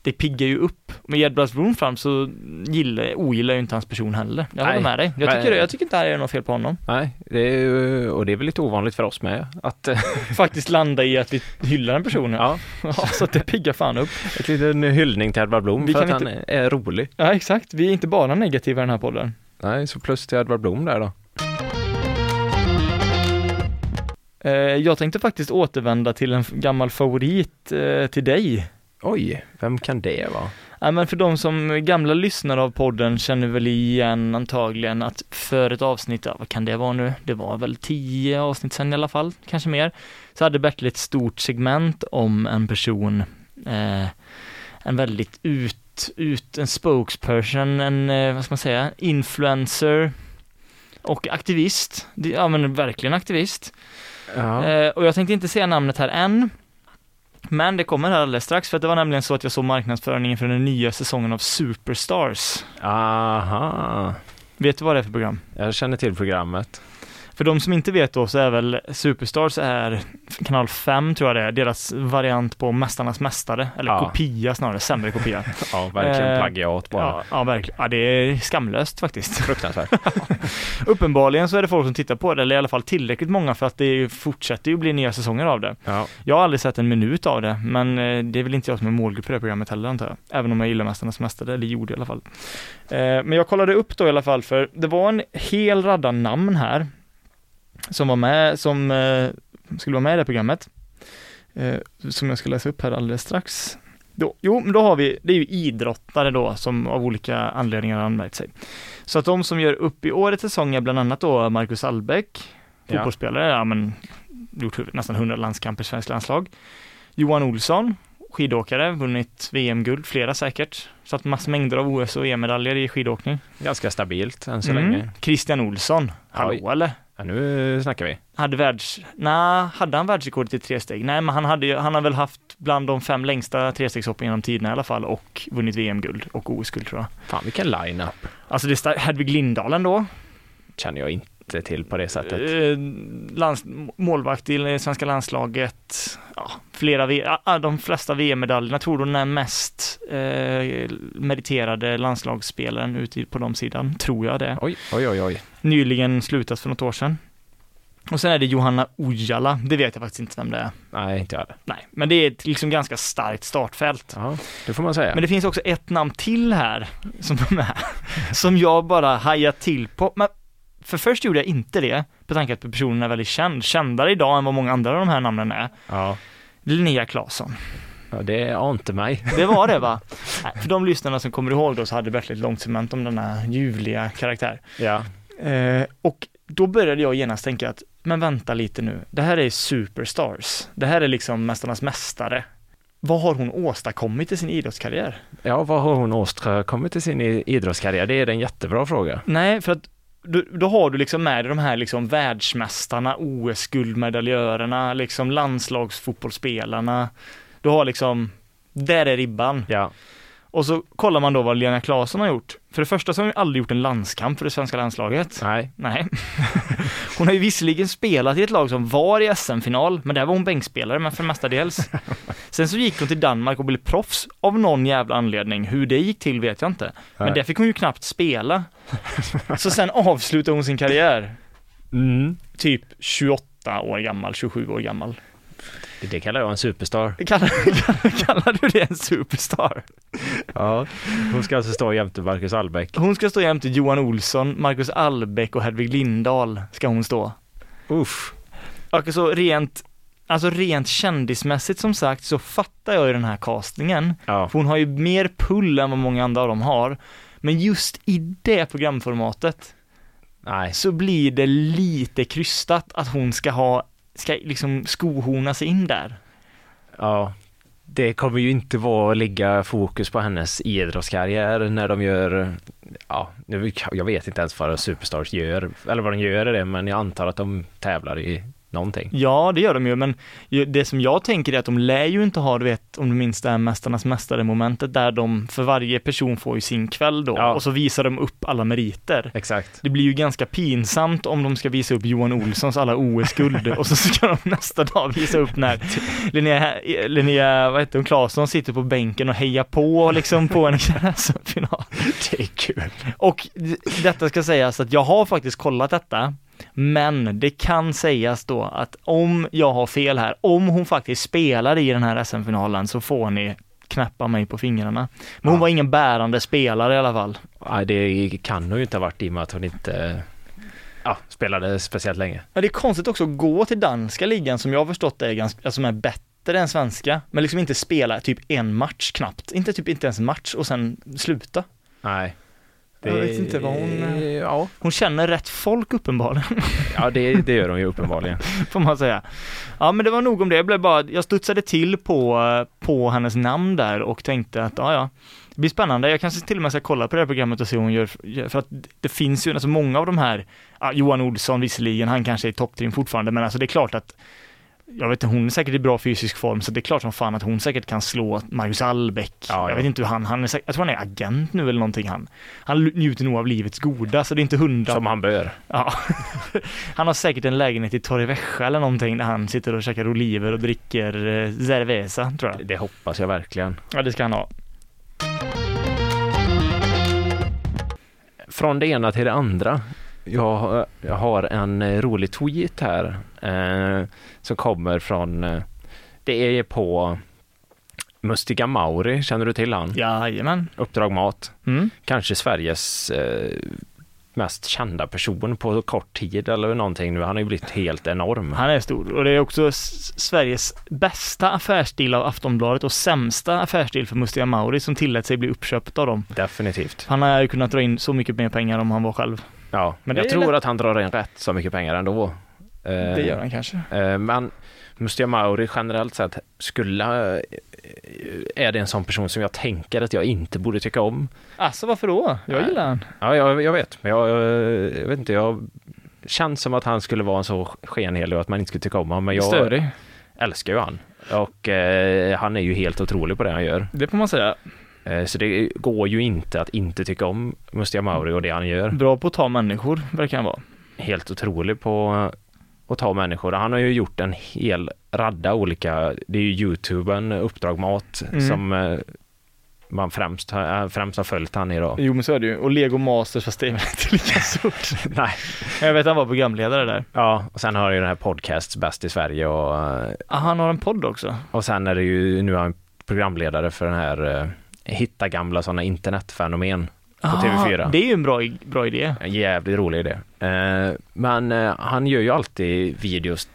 S2: det piggar ju upp. Med Edvard Blom fram så gillar, ogillar jag ju inte hans person heller. Jag håller
S3: Nej.
S2: med dig. Jag
S3: Nej.
S2: tycker, jag tycker inte det här är något fel på honom.
S3: Nej, det är, ju- och det är väl lite ovanligt för oss med, att eh,
S2: Faktiskt landa i att vi hyllar en person. Ja. *laughs*
S3: ja,
S2: så att det piggar fan upp.
S3: ett liten hyllning till Edvard Blom
S2: Vi
S3: för att
S2: kan
S3: han är rolig.
S2: Ja, exakt. Vi är inte bara negativa i den här podden.
S3: Nej, så plus till Edvard Blom där då.
S2: Eh, jag tänkte faktiskt återvända till en f- gammal favorit eh, till dig.
S3: Oj, vem kan det vara?
S2: Ja, men för de som är gamla lyssnare av podden känner väl igen antagligen att för ett avsnitt, ja, vad kan det vara nu? Det var väl tio avsnitt sedan i alla fall, kanske mer. Så hade Bertil ett stort segment om en person, eh, en väldigt ut, ut, en spokesperson, en, eh, vad ska man säga, influencer och aktivist. Det- Ja men verkligen aktivist.
S3: Ja,
S2: Eh, och jag tänkte inte säga namnet här än. Men det kommer här alldeles strax, för att det var nämligen så att jag såg marknadsföringen för den nya säsongen av Superstars.
S3: aha,
S2: Vet du vad det är för program?
S3: jag känner till programmet.
S2: För de som inte vet då så är väl Superstars är kanal 5 tror jag det är, deras variant på Mästarnas Mästare, eller
S3: Ja.
S2: kopia snarare, sämre
S3: *laughs*
S2: kopia.
S3: Ja, verkligen
S2: Eh,
S3: plagiat bara.
S2: ja, ja, verkligen. Ja, det är skamlöst faktiskt. *laughs*
S3: Fruktansvärt.
S2: Uppenbarligen så är det folk som tittar på det, eller i alla fall tillräckligt många för att det fortsätter ju bli nya säsonger av det.
S3: Ja.
S2: Jag har aldrig sett en minut av det, men eh, det är väl inte jag som är målgrupp för det här programmet heller antar jag. Även om jag gillar Mästarnas Mästare, eller gjorde i alla fall. Eh, Men jag kollade upp då i alla fall, för det var en hel radda namn här som var med, som eh, skulle vara med i det här programmet. Eh, Som jag ska läsa upp här alldeles strax. Då, jo, men då har vi, det är ju idrottare då som av olika anledningar har anmält sig. Så att de som gör upp i årets säsong är bland annat då Marcus Albeck,
S3: Ja.
S2: fotbollsspelare, ja men gjort hu- nästan 100 landskamper i svenskt landslag. Johan Olsson, skidåkare, vunnit VM-guld, flera säkert. Så att massor mängder av OS och EM-medaljer i skidåkning.
S3: Ganska stabilt än så
S2: Mm.
S3: länge.
S2: Christian Olsson, hallå
S3: Oj.
S2: eller?
S3: Ja, nu snackar vi.
S2: Hade världs... Nej, hade han världsrekordet i tresteg? Nej, men han, hade, ju- han har väl haft bland de fem längsta trestegshoppen genom tiderna i alla fall och vunnit VM-guld och OS-guld tror jag.
S3: Fan vilken line-up
S2: Alltså det är sta- Hedvig Lindahl ändå.
S3: känner jag inte till på det sättet.
S2: Eh, lands- målvakt i det svenska landslaget. Ja, flera v- ah, ah, de flesta VM-medaljerna tror du den är mest eh, meriterade landslagsspelaren ute på de sidan, tror jag det.
S3: Oj, oj, oj, oj.
S2: Nyligen slutat för något år sedan. Och sen är det Johanna Ojala, det vet jag faktiskt inte vem det är.
S3: Nej, inte jag det.
S2: Nej, men det är ett liksom ganska starkt startfält.
S3: Ja, det får man säga.
S2: Men det finns också ett namn till här *laughs* som är med, som jag bara hajar till på. Men för först gjorde jag inte det, på tanke att personen är väldigt känd, kändare idag än vad många andra av de här namnen är.
S3: Ja,
S2: Linnea Claesson.
S3: ja det ante mig.
S2: Det var det va? Nej, För de lyssnarna som kommer ihåg då så hade Bertil ett långt segment om denna ljuvliga karaktär.
S3: Ja,
S2: Eh, och då började jag genast tänka att, men vänta lite nu, det här är superstars. Det här är liksom Mästarnas Mästare. Vad har hon åstadkommit i sin idrottskarriär?
S3: ja vad har hon åstadkommit i sin i- idrottskarriär? Det är en jättebra fråga.
S2: Nej, för att då, då har du liksom med dig de här liksom världsmästarna, OS-guldmedaljörerna, liksom landslagsfotbollsspelarna. Du har liksom, där är ribban.
S3: Ja,
S2: Och så kollar man då vad Lena Claesson har gjort. För det första så har hon ju aldrig gjort en landskamp för det svenska landslaget.
S3: Nej.
S2: Nej. *laughs* Hon har ju visserligen spelat i ett lag som var i SM-final, men där var hon bänkspelare men för mestadels. Sen så gick hon till Danmark och blev proffs av någon jävla anledning. Hur det gick till vet jag inte. Men
S3: Nej.
S2: där fick hon ju knappt spela. Så sen avslutade hon sin karriär,
S3: Mm.
S2: typ 28 år gammal, 27 år gammal.
S3: Det, det kallar jag en superstar.
S2: Kallar, kallar, *laughs* kallar du det en superstar?
S3: Ja. Hon ska alltså stå jämte Marcus Albeck.
S2: Hon ska stå jämte Johan Olsson, Marcus Albeck och Hedvig Lindahl ska hon stå.
S3: Uff.
S2: Okej, så rent, alltså rent kändismässigt som sagt så fattar jag ju den här castingen.
S3: Ja.
S2: För hon har ju mer pull än vad många andra av dem har. Men just i det programformatet
S3: Nej.
S2: så blir det lite krystat att hon ska ha, ska liksom skohorna sig in där.
S3: Ja. Det kommer ju inte vara att ligga fokus på hennes idrottskarriär när de gör, ja, nu- jag vet inte ens vad Superstars gör, eller vad de gör i det, men jag antar att de tävlar i någonting.
S2: Ja, det gör de ju, men ju- det som jag tänker är att de lär ju inte ha, du vet, om du minns det här Mästarnas Mästare-momentet, där de, för varje person får ju sin kväll då,
S3: Ja.
S2: och så visar de upp alla meriter.
S3: Exakt.
S2: Det blir ju ganska pinsamt om de ska visa upp Johan Olssons alla OS-guld och så ska de *laughs* nästa dag visa upp när Linnea, Linnea vad heter hon, Claesson sitter på bänken och hejar på liksom på en SM-final.
S3: *laughs* Det är kul.
S2: Och d- detta ska sägas att jag har faktiskt kollat detta, men det kan sägas då att om jag har fel här, om hon faktiskt spelar i den här SM-finalen så får ni knäppa mig på fingrarna. Men hon
S3: Ja.
S2: var ingen bärande spelare i alla fall.
S3: Nej, det kan hon ju inte ha varit i och med att hon inte ja, spelade speciellt länge.
S2: Ja, det är konstigt också att gå till danska ligan som jag har förstått det är ganska, alltså, som är bättre än svenska, men liksom inte spela typ en match knappt, inte typ inte ens en match och sen sluta.
S3: Nej.
S2: Jag vet inte vad hon-
S3: Ja,
S2: Hon känner rätt folk uppenbarligen,
S3: ja det, det gör hon ju *laughs* uppenbarligen.
S2: *laughs* får man säga. Ja, men det var nog om det, jag blev bara, jag studsade till på, på hennes namn där och tänkte att, ja, ja, det blir spännande. Jag kanske till och med ska kolla på det här programmet och se hur hon gör, för att det finns ju, alltså många av de här, ja, Johan Olsson visserligen, han kanske är i topptrim fortfarande, men alltså det är klart att jag vet inte, hon är säkert i bra fysisk form, så det är klart som fan att hon säkert kan slå Marcus Albeck.
S3: Ja,
S2: Jag
S3: ja.
S2: vet inte hur han, han är, säkert- jag tror han är agent nu eller någonting han. Han njuter nog av livets goda, så det är inte hundra
S3: Som han bör.
S2: Ja. *laughs* Han har säkert en lägenhet i Torrevieja eller någonting där han sitter och käkar oliver och dricker eh, cerveza, tror jag.
S3: Det hoppas jag verkligen.
S2: Ja, det ska han ha.
S3: Från det ena till det andra. Jag, har- jag har en eh, rolig tweet här eh, som kommer från, eh, det är på Mustiga Mauri, känner du till han?
S2: Jajamän.
S3: Uppdrag Mat.
S2: Mm.
S3: kanske Sveriges eh, mest kända person på kort tid eller någonting nu. Han har ju blivit helt enorm.
S2: Han är stor och det är också S- Sveriges bästa affärsstil av Aftonbladet och sämsta affärsstil för Mustiga Mauri som tillät sig bli uppköpt av dem.
S3: Definitivt.
S2: Han har ju kunnat dra in så mycket mer pengar om han var själv.
S3: Ja,
S2: Men
S3: men
S2: det
S3: jag
S2: är
S3: tror
S2: lätt-
S3: att han drar in rätt så mycket pengar ändå. Eh,
S2: Det gör han kanske.
S3: Eh, men Mustia Mauri generellt sett skulle, eh, är det en sån person som jag tänker att jag inte borde tycga om.
S2: Alltså varför då? Jag gillar han.
S3: Ja, jag, jag vet, men jag, jag, jag vet inte, jag känns som att han skulle vara en så skenhelig och att man inte skulle tycka om honom. Men jag
S2: Störig.
S3: älskar ju han. Och eh, han är ju helt otrolig på det han gör.
S2: Det får man säga.
S3: Eh, Så det går ju inte att inte tycka om Mustia Mauri och det han gör.
S2: Bra på att ta människor, verkar han vara.
S3: Helt otrolig på att ta människor. Han har ju gjort en hel radda olika, det är ju YouTuben Uppdrag Mat
S2: Mm.
S3: som eh, man främst, har- eh, främst har följt han idag.
S2: Jo men så är det ju. Och Lego Masters fast det är väl inte lika stort.
S3: *laughs* Nej.
S2: Jag vet han var programledare där.
S3: Ja, och sen har han ju den här podcasts Bäst i Sverige och, eh,
S2: Ah, han har en podd också.
S3: och sen är det ju, nu är han programledare för den här eh, Hitta gamla sådana internetfenomen på TV4.
S2: Ah. Det är ju en bra, i- bra idé.
S3: En jävligt rolig idé. Eh, men eh, han gör ju alltid videos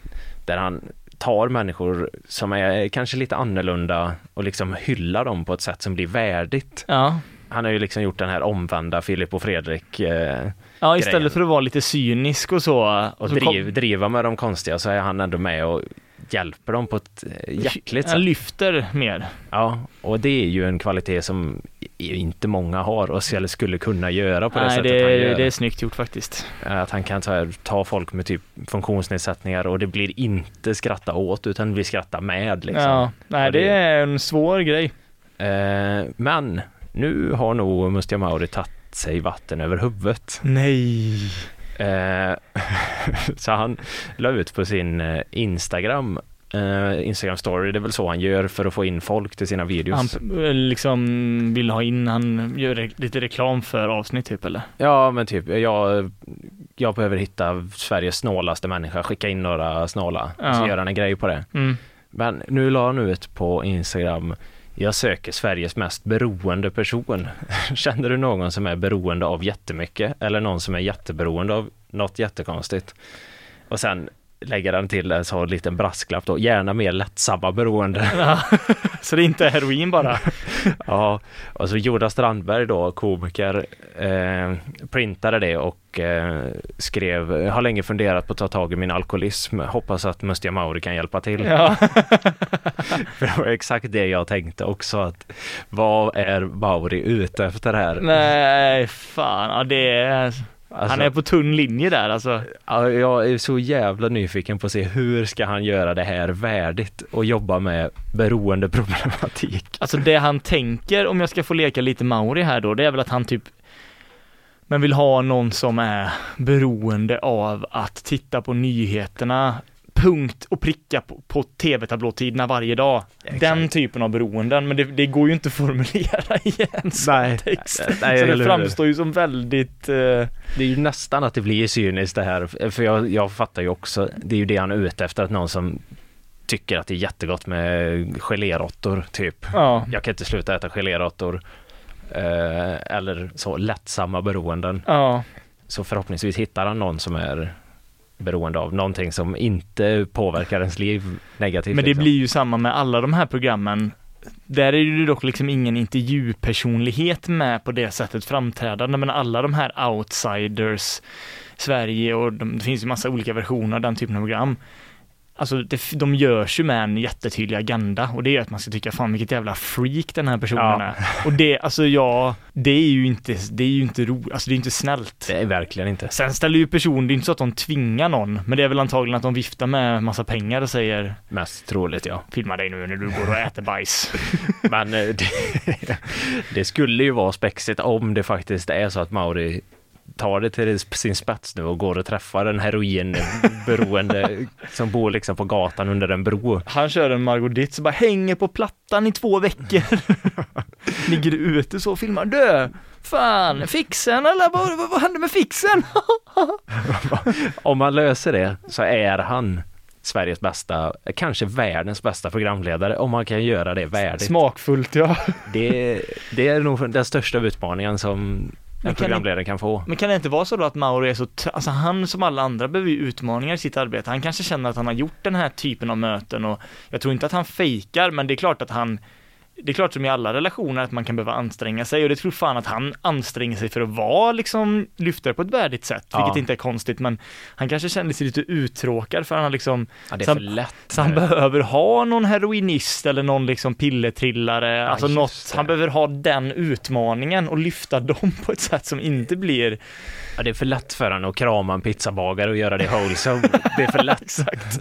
S3: där han tar människor som är kanske lite annorlunda och liksom hyllar dem på ett sätt som blir värdigt.
S2: Ja.
S3: Han har ju liksom gjort den här omvända Filip och Fredrik eh,
S2: Ja, istället
S3: Grejen.
S2: för att vara lite cynisk och så.
S3: och
S2: så
S3: driv,
S2: kom-
S3: driva med de konstiga så är han ändå med och hjälper dem på ett eh, hjärtligt
S2: Han
S3: sätt.
S2: lyfter mer.
S3: Ja, och det är ju en kvalitet som i- inte många har och eller skulle kunna göra på det
S2: Nej,
S3: sättet
S2: det,
S3: han gör.
S2: det är snyggt gjort faktiskt.
S3: Eh, Att han kan så här, ta folk med typ funktionsnedsättningar och det blir inte skratta åt utan det blir skratta med. Liksom.
S2: Ja. Nej,
S3: Och det-
S2: det är en svår grej.
S3: Eh, men Nu har nog Mustiga Mauri tagit sig vatten över huvudet.
S2: Nej.
S3: Eh, *laughs* så han la ut på sin eh, Instagram, eh, Instagram story, det är väl så han gör för att få in folk till sina videos.
S2: Han eh, liksom vill ha in, han gör re- lite reklam för avsnitt typ eller?
S3: Ja men typ, jag, jag behöver hitta Sveriges snålaste människa, skicka in några snåla, så
S2: Ja.
S3: gör han en grej på det.
S2: Mm.
S3: Men nu la han ut på Instagram jag söker Sveriges mest beroende person. *laughs* Känner du någon som är beroende av jättemycket eller någon som är jätteberoende av något jättekonstigt? Och sen lägger han till en sån liten brasklapp då, gärna mer lättsamma beroende.
S2: Så det är inte heroin
S3: *laughs*
S2: bara?
S3: Ja, och så Jonas Strandberg då, komiker, eh, printade det och eh, skrev, "Jag har länge funderat på att ta tag i min alkoholism, hoppas att Mustiga Mauri kan hjälpa till.
S2: ja.
S3: För *laughs* det var exakt det jag tänkte också att vad är Mauri ute efter här?
S2: Nej, fan. Ja, det är...
S3: Alltså,
S2: han är på tunn linje där alltså.
S3: ja, Jag är så jävla nyfiken på att se hur ska han göra det här värdigt och jobba med *laughs* beroendeproblematik.
S2: Alltså det han tänker, om jag ska få leka lite Mauri här då, det är väl att han typ men vill ha någon som är beroende av att titta på nyheterna, punkt och pricka på, på tv-tablåtiderna varje dag. Den typen av beroenden, men det, det går ju inte att formulera *laughs* i en sån
S3: Nej.
S2: text.
S3: Nej,
S2: Så
S3: eller
S2: det
S3: hur?
S2: framstår ju som väldigt, eh,
S3: Det är ju nästan att det blir cyniskt det här, för jag, jag fattar ju också, det är ju det han är ute efter, att någon som tycker att det är jättegott med geléråttor, typ.
S2: ja,
S3: Jag kan inte sluta äta geléråttor. Eh, eller så lättsamma beroenden.
S2: ja,
S3: Så förhoppningsvis hittar han någon som är beroende av någonting som inte påverkar ens liv negativt.
S2: men det
S3: liksom.
S2: blir ju samma med alla de här programmen. Där är ju dock liksom ingen intervjupersonlighet med på det sättet framträdande, men alla de här outsiders, Sverige och de, det finns ju massa olika versioner av den typen av program. Alltså det, f- de görs ju med en jättetydlig agenda och det är att man ska tycka fan vilket jävla freak den här personen
S3: Ja.
S2: är. Och det, alltså ja, det är ju inte, det är ju inte roligt, alltså det är inte snällt.
S3: Det är verkligen inte.
S2: Sen ställer ju personen, det är inte så att de tvingar någon, men det är väl antagligen att de viftar med massa pengar och säger
S3: Mest troligt ja.
S2: filma dig nu när du går och äter bajs.
S3: Men eh, det, *laughs* det skulle ju vara spexigt om det faktiskt är så att Mauri tar det till sin spets nu och går och träffar en
S2: *laughs*
S3: heroinberoende som bor liksom på gatan under en bro.
S2: *laughs* Han kör en Margot Ditz och bara hänger på plattan i två veckor. *laughs* Ligger ute så och filmar. Du! Fan, fixen eller vad, vad, vad hände med fixen?
S3: Om man löser det så är han Sveriges bästa, kanske världens bästa programledare om man kan göra det värdigt.
S2: Smakfullt ja.
S3: Det, det är nog den största utmaningen som
S2: kan
S3: en programledare kan få.
S2: Men kan det inte vara så då att Mauro är så, tr- alltså han som alla andra behöver ju utmaningar i sitt arbete. Han kanske känner att han har gjort den här typen av möten och jag tror inte att han fejkar, men det är klart att han det är klart som i alla relationer att man kan behöva anstränga sig och det tror fan att han anstränger sig för att vara liksom lyftare på ett värdigt sätt,
S3: Ja.
S2: vilket inte är konstigt men han kanske kände sig lite uttråkad för han har liksom
S3: Ja, det är
S2: så
S3: för
S2: han-
S3: lätt.
S2: så han behöver ha någon heroinist eller någon liksom pillertrillare, alltså
S3: just
S2: något,
S3: det.
S2: han behöver ha den utmaningen och lyfta dem *laughs* på ett sätt som inte blir
S3: Ja, det är för lätt för honom att krama en pizzabagare och göra det wholesome. Det är
S2: *laughs*
S3: för lätt.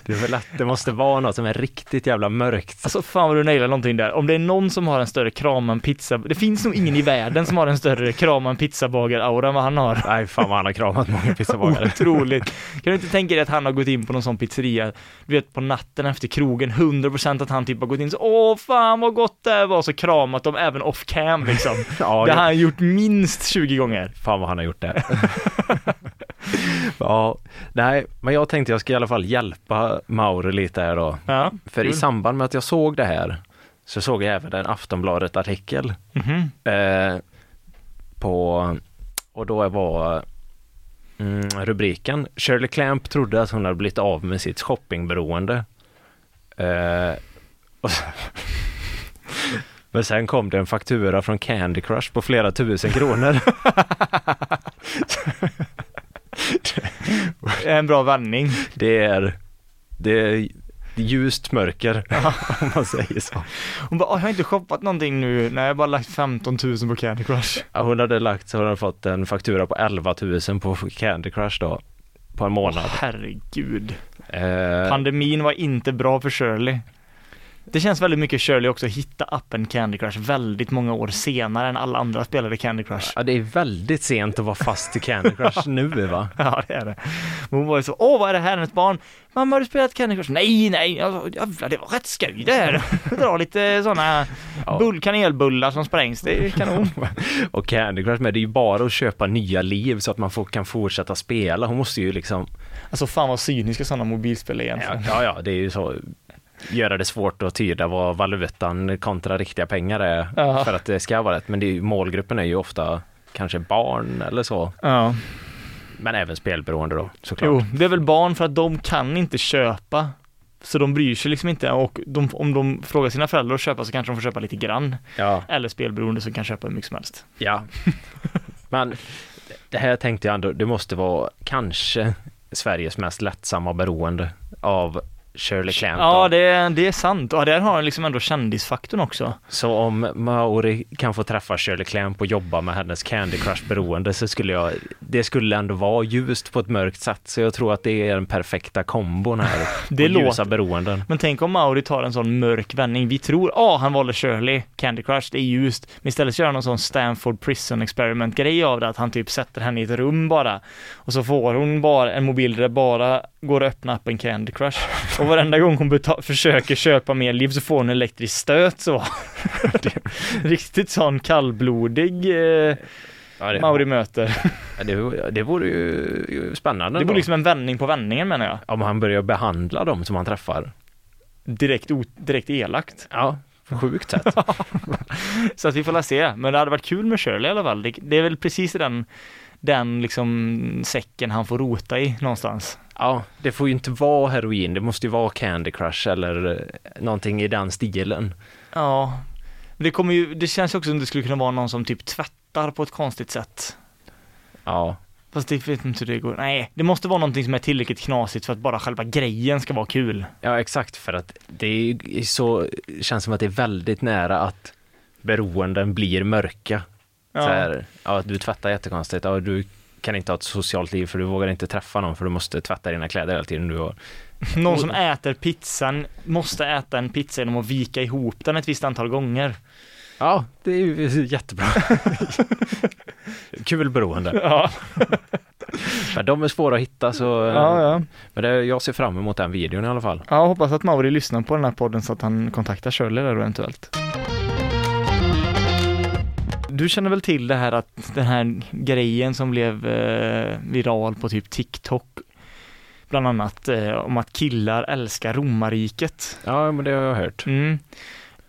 S3: Det är för lätt. Det måste vara något som är riktigt jävla mörkt.
S2: Alltså fan vad du nailar någonting där. Om det är någon som har en större kram än pizza, det finns nog ingen i världen som har en större kram än pizzabagar-aura än vad han
S3: *laughs*
S2: har.
S3: Nej, fan vad han har kramat många pizzabagare.
S2: Otroligt. Kan du inte tänka dig att han har gått in på någon sån pizzeria, du vet på natten efter krogen, 100% att han typ har gått in så åh fan vad gott det var, så kramat dem även off cam liksom.
S3: *laughs* Ja,
S2: Det
S3: det
S2: har han gjort minst 20 gånger.
S3: Fan vad han har
S2: *laughs*
S3: gjort det. ja, nej, men jag tänkte jag ska i alla fall hjälpa Mauri lite här då.
S2: Ja,
S3: För i samband med att jag såg det här så såg jag även en Aftonbladet-artikel
S2: Mhm.
S3: eh, på, och då var mm, rubriken Shirley Clamp trodde att hon hade blivit av med sitt shoppingberoende. Eh, *laughs* och sen, men sen kom det en faktura från Candy Crush på flera tusen kronor.
S2: Eh, En bra vändning.
S3: Det är, det är ljust mörker *laughs* om man säger så.
S2: Hon bara, "Åh, jag har inte shoppat någonting nu, nej jag har bara lagt 15 000 på Candy Crush.
S3: Ja, Hon hade lagt så hon hade fått en faktura på 11 000 på Candy Crush då. På en månad.
S2: Herregud.
S3: Eh,
S2: Pandemin var inte bra för Shirley. Det känns väldigt mycket Shirley också att hitta appen Candy Crush väldigt många år senare än alla andra spelade Candy Crush. *laughs*
S3: Ja, det är väldigt sent att vara fast i Candy Crush nu va?
S2: Ja, det är det. Men hon var ju så, åh vad är det här hennes barn? Mamma har du spelat Candy Crush? Nej, nej, alltså, jävlar det var rätt skoj det här. Dra lite sådana
S3: Ja.
S2: bull, kanelbullar som sprängs, det är ju kanon.
S3: Och Candy Crush med, det är ju bara att köpa nya liv så att man får, kan fortsätta spela. Hon måste ju liksom,
S2: *laughs* Alltså fan vad cyniska sådana mobilspel är egentligen.
S3: ja, ja, ja det är ju så, göra det svårt att tyda vad valutan kontra riktiga pengar är
S2: Ja.
S3: för att det ska vara rätt. Men det är, ju- målgruppen är ju ofta kanske barn eller så,
S2: Ja.
S3: men även spelberoende då såklart.
S2: Jo, det är väl barn för att de kan inte köpa. Så de bryr sig liksom inte och de, om de frågar sina föräldrar att köpa så kanske de får köpa lite grann.
S3: Ja.
S2: Eller spelberoende som kan köpa hur mycket som helst.
S3: Ja. *laughs* Men det här tänkte jag ändå, det måste vara kanske Sveriges mest lättsamma beroende av Shirley Clamp.
S2: Ja, det, det är sant. Och där har han liksom ändå kändisfaktorn också.
S3: Så om Maori kan få träffa Shirley Clamp och jobba med hennes Candy Crush-beroende så skulle jag, det skulle ändå vara ljust på ett mörkt sätt. Så jag tror att det är den perfekta
S2: *laughs*
S3: kombon här.
S2: Det
S3: Och ljusa
S2: låter-
S3: beroenden.
S2: Men tänk om Mauri tar en sån mörk vändning. Vi tror, ah, han valde Shirley, Candy Crush, det är ljust. Men istället gör han någon sån Stanford Prison Experiment-grej av det, att han typ sätter henne i ett rum bara. Och så får hon bara en mobil där det bara går att öppna appen Candy Crush. Och varenda gång hon beta- försöker köpa mer liv så får hon en elektrisk stöt så. *laughs* Riktigt sån kallblodig eh,
S3: Ja, det,
S2: Mauri möter.
S3: det, det vore ju ju spännande.
S2: Det
S3: då.
S2: blir liksom en vändning på vändningen menar jag.
S3: Om han börjar behandla dem som han träffar.
S2: Direkt, o- direkt elakt.
S3: Ja, på sjukt sätt.
S2: *laughs* Så att vi får la se, men det hade varit kul med Shirley i alla fall. Det, det är väl precis i den, den liksom säcken han får rota i någonstans.
S3: Ja, det får ju inte vara heroin, det måste ju vara Candy Crush eller eh, någonting i den stilen.
S2: Ja, men det kommer ju, det känns ju också som det skulle kunna vara någon som typ tvättar på ett konstigt sätt.
S3: Ja,
S2: Fast det vet inte hur det går. Nej, det måste vara någonting som är tillräckligt knasigt för att bara själva grejen ska vara kul.
S3: ja exakt för att det är ju så, känns som att det är väldigt nära att beroenden blir mörka. Ja. Så här, ja, du tvättar jättekonstigt, ja, du kan inte ha ett socialt liv för du vågar inte träffa någon för du måste tvätta dina kläder hela tiden. Du har.
S2: Någon som äter pizzan måste äta en pizza genom att vika ihop den ett visst antal gånger.
S3: Ja, det är ju *laughs* jättebra. Kul beroende. *laughs*
S2: Ja,
S3: Men de är svåra att hitta så, eh,
S2: ja.
S3: men det, jag ser fram emot den videon i alla fall.
S2: Ja, jag hoppas att Mauri lyssnar på den här podden så att han kontaktar Shirley där då eventuellt. Du känner väl till det här att den här grejen som blev eh, viral på typ TikTok, bland annat eh, om att killar älskar romarriket.
S3: Ja, men det har jag hört.
S2: Mm.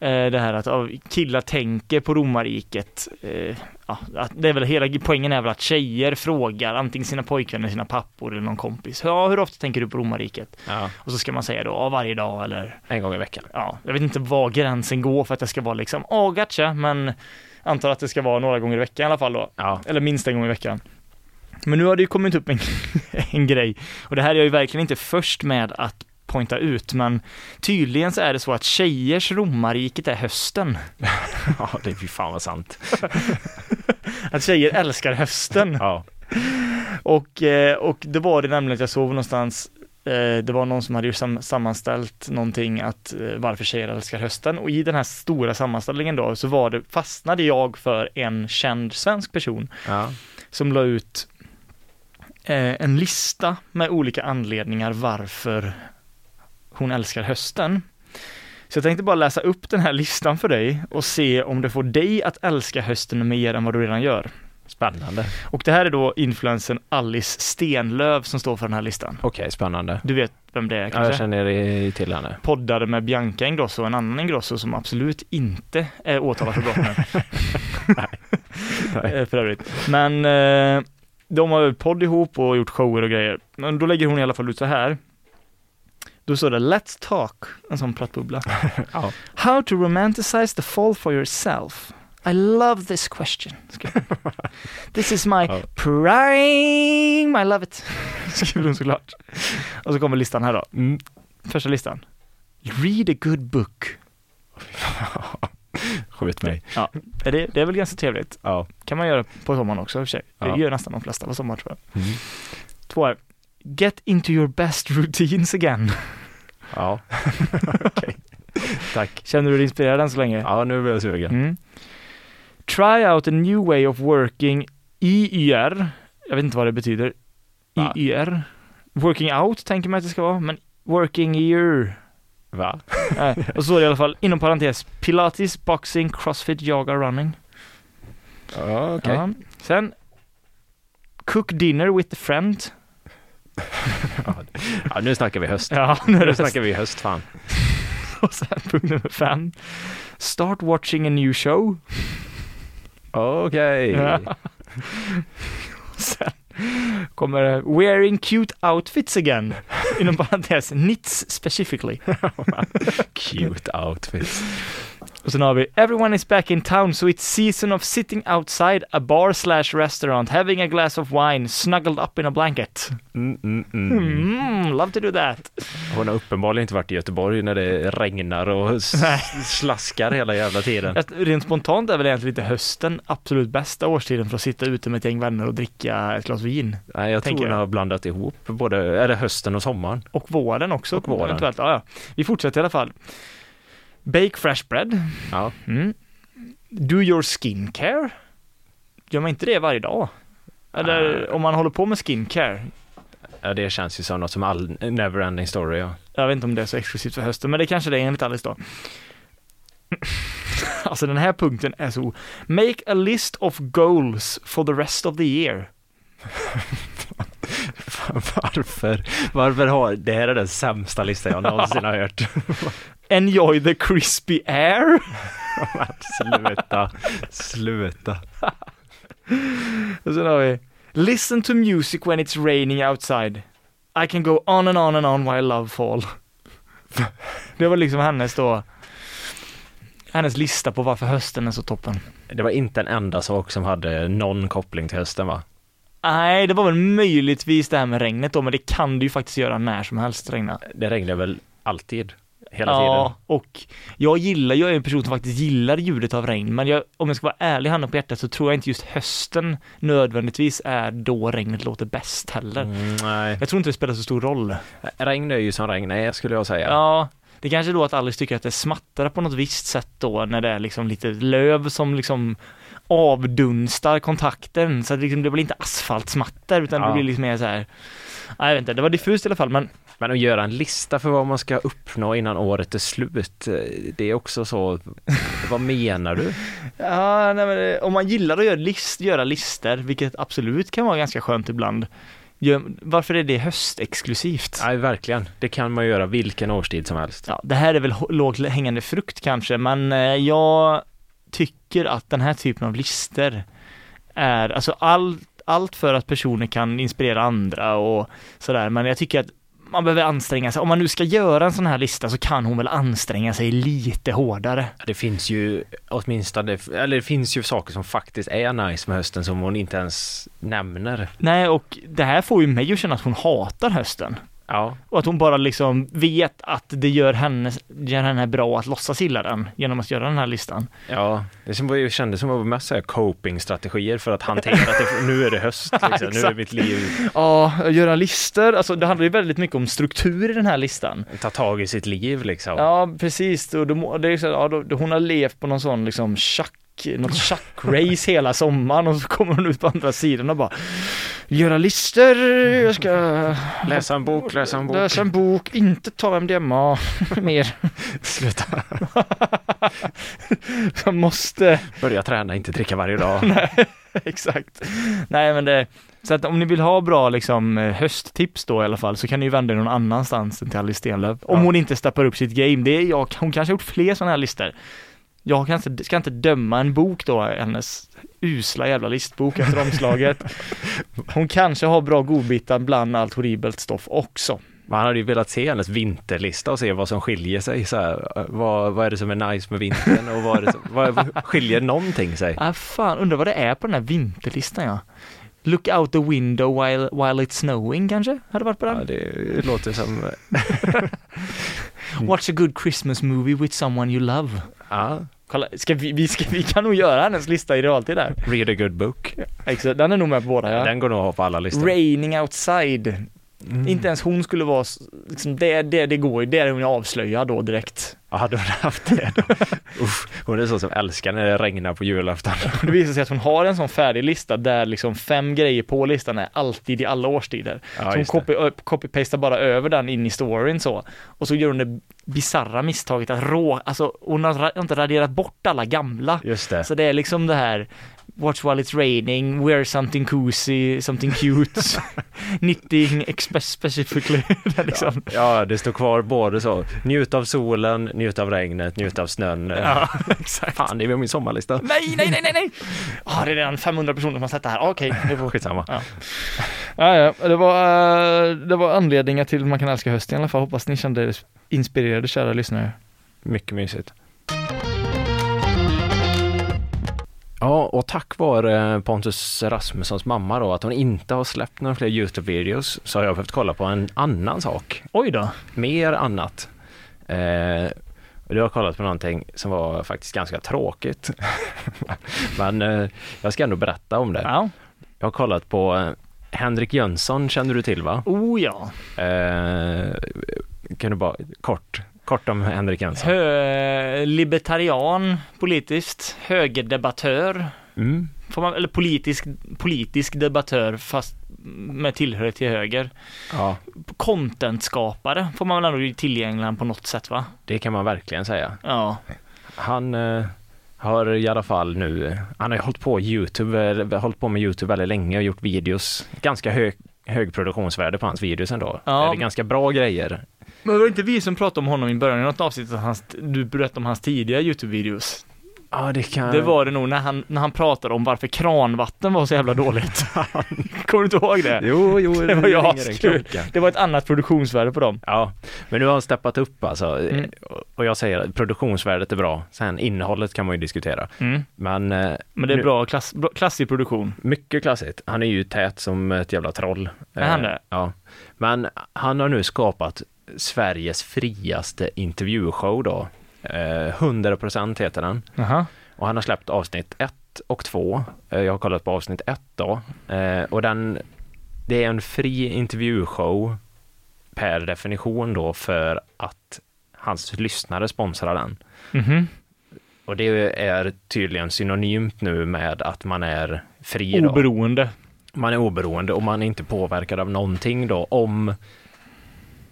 S2: Eh, det här att ja, killar tänker på romarriket. Eh, ja, att det är väl hela poängen är väl att tjejer frågar antingen sina pojkvänner, sina pappor eller någon kompis. Ja, hur ofta tänker du på romarriket?
S3: Ja,
S2: Och så ska man säga då, ja, varje dag eller
S3: en gång i veckan.
S2: ja, jag vet inte var gränsen går för att det ska vara liksom, åh gotcha, men antar att det ska vara några gånger i veckan i alla fall då.
S3: Ja,
S2: Eller minst en gång i veckan. Men nu har det ju kommit upp en, *laughs* en grej, och det här är jag ju verkligen inte först med att pointa ut, men tydligen så är det så att tjejers romarriket är hösten.
S3: *laughs* ja det är ju fan vad sant.
S2: Att tjejer älskar hösten.
S3: Ja.
S2: Och, eh, och det var det nämligen att jag såg någonstans, eh, det var någon som hade ju sam- sammanställt någonting att eh, varför tjejer älskar hösten och i den här stora sammanställningen då så var det, fastnade jag för en känd svensk person
S3: ja.
S2: som la ut eh, en lista med olika anledningar varför hon älskar hösten. Så jag tänkte bara läsa upp den här listan för dig och se om det får dig att älska hösten mer än vad du redan gör.
S3: Spännande.
S2: Och det här är då influensen Alice Stenlöv som står för den här listan.
S3: Okej, spännande.
S2: Du vet vem det är
S3: Ja,
S2: kanske?
S3: jag känner eh, till henne.
S2: Poddade med Bianca Ingrosso och en annan Ingrosso som absolut inte är åtalad för brott
S3: *laughs*
S2: nu. Eh, för övrigt. Men eh, de har ju podd ihop och gjort shower och grejer. Men då lägger hon i alla fall ut så här. Då står det Let's Talk, en sån pratbubbla.
S3: *laughs* Ja.
S2: How to romanticize the fall for yourself. I love this question. Skriver
S3: *laughs*
S2: hon. This is my
S3: Ja.
S2: prime, I love it. *laughs* Skriver hon såklart. Och så kommer listan här då.
S3: Mm.
S2: Första listan. Read a good book.
S3: Skjut mig.
S2: Ja, det, det är väl ganska trevligt.
S3: Ja.
S2: Kan man göra på sommaren också i och för sig. Det
S3: Ja.
S2: gör nästan de flesta på sommaren tror jag.
S3: Mm.
S2: Två är,
S3: *laughs*
S2: Get into your best routines again.
S3: Ja. Tack.
S2: Känner du dig inspirerad än så länge?
S3: Ja, nu blir jag sugen.
S2: Mm. Try out a new way of working IYR. Jag vet inte vad det betyder.
S3: Va?
S2: IYR. Working out tänker man att det ska vara, men working year.
S3: Va?
S2: Nej, och så står det i alla fall, inom parentes, pilates, boxing, crossfit, yoga, running.
S3: Ja, okej.
S2: Ja. Sen, cook dinner with a friend.
S3: Ja, nu snackar vi höst.
S2: Ja, nu är
S3: Nu
S2: det
S3: snackar vi höst, fan.
S2: Och sen punkt nummer fem. Start watching a new show. *laughs*
S3: Okej. *laughs*
S2: Ja. Sen kommer det, wearing cute outfits *laughs* again. Inom parentes, knits specifically.
S3: Cute outfits.
S2: Och sen har vi, everyone is back in town so it's season of sitting outside a bar slash restaurant, having a glass of wine, snuggled up in a blanket.
S3: Mm, mm, mm.
S2: Mm, love to do that.
S3: Hon har uppenbarligen inte varit i Göteborg när det regnar och *laughs* s- slaskar hela jävla tiden.
S2: Att Rent spontant är väl egentligen inte hösten absolut bästa årstiden för att sitta ute med ett gäng vänner och dricka ett glas vin.
S3: Nej, jag tror
S2: tänker
S3: hon
S2: jag.
S3: har blandat ihop både är det hösten och sommaren.
S2: Och våren också.
S3: Och våren.
S2: Eventuellt. Ja, ja. Vi fortsätter i alla fall. Bake fresh bread.
S3: Ja.
S2: Mm. Do your skincare. Gör man inte det varje dag? Eller
S3: Nej.
S2: om man håller på med skincare.
S3: ja, det känns ju som något som all neverending story. Ja.
S2: Jag vet inte om det är så exklusivt för hösten, men det kanske det är enligt Alice då. *laughs* alltså den här punkten är så... Make a list of goals for the rest of the year.
S3: *laughs* Varför? Varför har det här är den sämsta listan jag någonsin har *laughs* hört.
S2: Enjoy the crispy air. *laughs*
S3: Sluta, sluta.
S2: Och sen har vi Listen to music when it's raining outside. I can go on and on and on while love fall. *laughs* Det var liksom hennes då, hennes lista på varför hösten är så toppen.
S3: Det var inte en enda sak som hade någon koppling till hösten va?
S2: Nej, det var väl möjligtvis det här med regnet då, men det kan du ju faktiskt göra när som helst regna.
S3: Det regnar väl alltid? Hela
S2: Ja,
S3: tiden?
S2: och jag gillar, jag är en person som faktiskt gillar ljudet av regn, men jag, om jag ska vara ärlig handen på hjärtat så tror jag inte just hösten nödvändigtvis är då regnet låter bäst heller.
S3: Mm, nej.
S2: Jag tror inte det spelar så stor roll.
S3: Regn är ju som regn är skulle jag säga.
S2: Ja, det kanske är då att Alice tycker att det smattrar på något visst sätt då när det är liksom lite löv som liksom avdunstar kontakten så att liksom det blir inte asfaltsmatter utan det
S3: Ja.
S2: blir liksom mer så här. Nej, jag vet inte, det var diffust i alla fall men
S3: Men att göra en lista för vad man ska uppnå innan året är slut, eh, det är också så, vad menar *laughs* du?
S2: ja, nej, men eh, om man gillar att göra, list, göra lister, vilket absolut kan vara ganska skönt ibland gör, varför är det höstexklusivt?
S3: Nej, verkligen. Det kan man göra vilken årstid som helst.
S2: Ja, det här är väl h- lågt hängande frukt kanske, men eh, jag tycker att den här typen av lister är, alltså allt, allt för att personer kan inspirera andra och sådär, men jag tycker att man behöver anstränga sig. Om man nu ska göra en sån här lista så kan hon väl anstränga sig lite hårdare.
S3: Det finns ju åtminstone, eller det finns ju saker som faktiskt är nice med hösten som hon inte ens nämner.
S2: Nej, och det här får ju mig att känna att hon hatar hösten.
S3: Ja,
S2: Och att hon bara liksom vet att det gör henne, gör henne bra att låtsas gilla den genom att göra den här listan.
S3: ja. Det som var ju, kändes som var mest så här coping-strategier för att hantera att det, nu är
S2: *laughs*
S3: det höst, liksom. nu är
S2: Exakt.
S3: mitt liv,
S2: Ja, göra listor. Alltså det handlar ju väldigt mycket om struktur i den här listan.
S3: ta tag i sitt liv liksom.
S2: Ja, precis. Och då, må- det är ju så, här, ja, då, då hon har levt på någon sån liksom tjack, något tjackrace hela sommaren och så kommer hon ut på andra sidan och bara Göra listor, jag ska
S3: Läsa en bok, läsa en bok.
S2: läsa en bok, inte ta MDMA *laughs*
S3: *laughs*
S2: mer.
S3: Sluta.
S2: Jag måste
S3: Börja träna, inte dricka varje dag.
S2: *laughs* Exakt. Nej men det, så att om ni vill ha bra liksom eh, hösttips då i alla fall så kan ni ju vända er någon annanstans än till Alice Stenlöf. Om
S3: Ja.
S2: hon inte steppar upp sitt game. Det är jag, hon kanske har gjort fler sådana här listor. Jag kan inte, ska inte döma en bok då, hennes usla jävla listbok efter *laughs* omslaget. Hon kanske har bra godbitar bland allt horribelt stoff också.
S3: Man hade ju velat se hennes vinterlista och se vad som skiljer sig. Så här, eh, vad, vad är det som är nice med vintern och vad, är det som, vad skiljer någonting sig?
S2: Ah fan, undrar vad det är på den här vinterlistan ja. Look out the window while, while it's snowing kanske, hade varit på den.
S3: Ja, det låter som...
S2: Watch a good Christmas movie with someone you love.
S3: Ja,
S2: Kolla, ska vi, vi, ska, vi kan nog göra hennes lista i realtid där.
S3: read a good book.
S2: Exakt, den Mm. är nog med på båda ja.
S3: Den går nog att ha på alla listor.
S2: Raining outside. Inte ens hon skulle vara, s- liksom, det, det, det går ju, där är hon ju avslöjad då direkt.
S3: Ja, hade hon haft det
S2: *laughs*
S3: då? Uff, hon är sån som älskar när det regnar
S2: *laughs*
S3: på julafton.
S2: Och det visar sig att hon har en sån färdig lista där liksom fem grejer på listan är alltid i alla årstider.
S3: Ja,
S2: så hon
S3: just det.
S2: copy, ö- copy-pastar bara över den in i storyn så. Och så gör hon det bisarra misstaget att rå, alltså hon har ra- inte raderat bort alla gamla.
S3: Just det.
S2: Så det är liksom det här Watch while it's raining, wear something cozy, something
S3: *laughs*
S2: cute, knitting expe- specifically. Det är *laughs* liksom.
S3: Ja, det står kvar både så, njut av solen, njut av regnet, njut av snön. *laughs*
S2: Ja, exakt.
S3: Fan, det är väl min sommarlista.
S2: Nej, nej, nej, nej, nej! Ah, det är redan 500 personer som har sett det här. Ah, Okej, det får
S3: Skitsamma.
S2: Ja, ja, det var, eh, det var anledningar till att man kan älska hösten i alla fall. Hoppas ni kände er inspirerade, kära lyssnare.
S3: Mycket mysigt. Ja, och tack vare Pontus Rasmussons mamma då, att hon inte har släppt några fler YouTube-videos, så har jag behövt kolla på en annan sak.
S2: Oj då.
S3: Mer annat. Eh, och du har kollat på någonting som var faktiskt
S2: *laughs*
S3: ganska tråkigt. Men eh, jag ska ändå berätta om det.
S2: Ja.
S3: Jag har kollat på eh, Henrik Jönsson känner du till va?
S2: Oh ja.
S3: Eh, kan du bara kort, kort om Henrik Jönsson?
S2: Hö- libertarian politiskt, högerdebattör,
S3: Mm.
S2: får man, eller politisk, politisk debattör fast med tillhörighet till höger.
S3: Ja,
S2: Contentskapare får man väl ändå tillägna honom på något sätt va?
S3: det kan man verkligen säga.
S2: Ja.
S3: Han eh, har i alla fall nu, han har ju hållit på, YouTube, eh, hållit på med YouTube väldigt länge och gjort videos. Ganska hög, hög produktionsvärde på hans videos ändå.
S2: Ja.
S3: Det är ganska bra grejer.
S2: Men det var inte vi som pratade om honom i början i något avsnitt, att hans, du berättade om hans tidiga YouTube-videos.
S3: Ja, det kan...
S2: Det var det nog när han, när han pratade om varför kranvatten var så jävla *laughs* dåligt. Kommer du inte ihåg det?
S3: Jo, *laughs* jo,
S2: Det var jag
S3: ringer
S2: som-
S3: en klocka.
S2: Det var ett annat produktionsvärde på dem.
S3: Ja, men nu har han steppat upp alltså.
S2: Mm.
S3: Och jag säger att produktionsvärdet är bra. Sen innehållet kan man ju diskutera.
S2: Mm.
S3: Men, eh,
S2: Men det är
S3: nu-
S2: bra, klass, bra klassig produktion.
S3: Mycket klassigt. Han är ju tät som ett jävla troll.
S2: Är han
S3: Eh,
S2: det?
S3: Ja. Men han har nu skapat Sveriges friaste intervjushow då. Eh, 100% heter den.
S2: Jaha.
S3: Och han har släppt avsnitt 1 och 2. Eh, jag har kollat på avsnitt 1 då. Eh, och den, det är en fri intervjushow per definition då för att hans lyssnare sponsrar den.
S2: Mhm.
S3: Och det är tydligen synonymt nu med att man är fri då
S2: Oberoende.
S3: man är oberoende och man är inte påverkad av någonting då om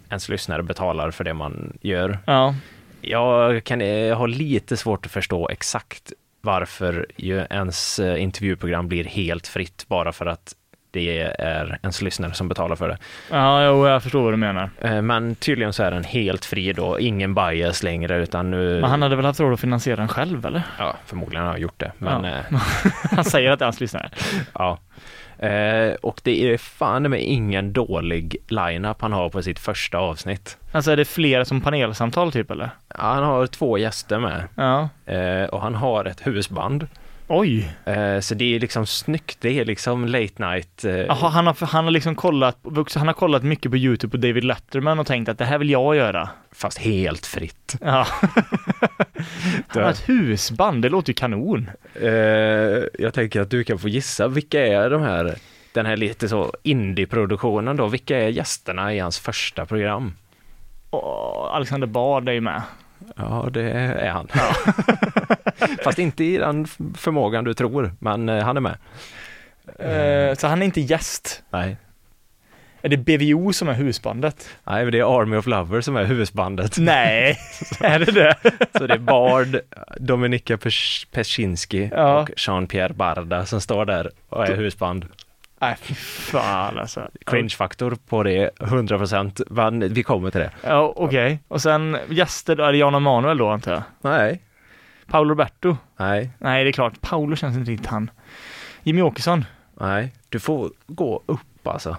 S3: ens lyssnare betalar för det man gör.
S2: Ja.
S3: Jag, kan, jag har lite svårt att förstå exakt varför ju ens eh, intervjuprogram blir helt fritt bara för att det är ens lyssnare som betalar för det.
S2: Ja, jo, jag förstår vad du menar.
S3: Eh, Men tydligen så är den helt fri då, ingen bias längre utan nu...
S2: Men han hade väl haft råd att finansiera den själv eller? *laughs*
S3: Ja, förmodligen har jag gjort det, men
S2: Ja.
S3: eh,
S2: Han säger att det är hans lyssnare.
S3: Ja. Eh, och det är fan med ingen dålig line-up han har på sitt första avsnitt.
S2: Alltså är det flera som panelsamtal typ eller?
S3: Han har två gäster med
S2: Ja.
S3: eh, och han har ett husband.
S2: Oj!
S3: Eh, så det är liksom snyggt, det är liksom late night. Eh,
S2: Jaha, han har, han har liksom kollat, han har kollat mycket på YouTube på David Letterman och tänkt att det här vill jag göra.
S3: Fast helt fritt.
S2: Ja. Han har ett husband, det låter ju kanon.
S3: Eh, jag tänker att du kan få gissa, vilka är de här, den här lite så indie-produktionen då, vilka är gästerna i hans första program?
S2: Åh, Alexander Bard är ju med.
S3: Ja, *laughs* det är han. Fast inte i den f- förmågan du tror, men eh, han är med.
S2: Eh, Så han är inte gäst.
S3: Nej.
S2: Är det BVO som är husbandet?
S3: Nej, men det är Army of Lovers som är *laughs* huvudbandet.
S2: Nej, *laughs* är det det?
S3: Så det är Bard, Dominika Pers- Persinski
S2: Ja.
S3: och Jean-Pierre Barda som står där och är husband.
S2: Nej, fy fan alltså.
S3: Cringe-faktor på det, 100%, men vi kommer till det.
S2: Ja, okej. Och sen gäster, då är det Jan Emanuel då antar jag?
S3: Nej.
S2: Paolo Roberto?
S3: Nej,
S2: Nej, det är klart. Paolo känns inte riktigt han. Jimmy Åkesson?
S3: nej. Du får gå upp alltså.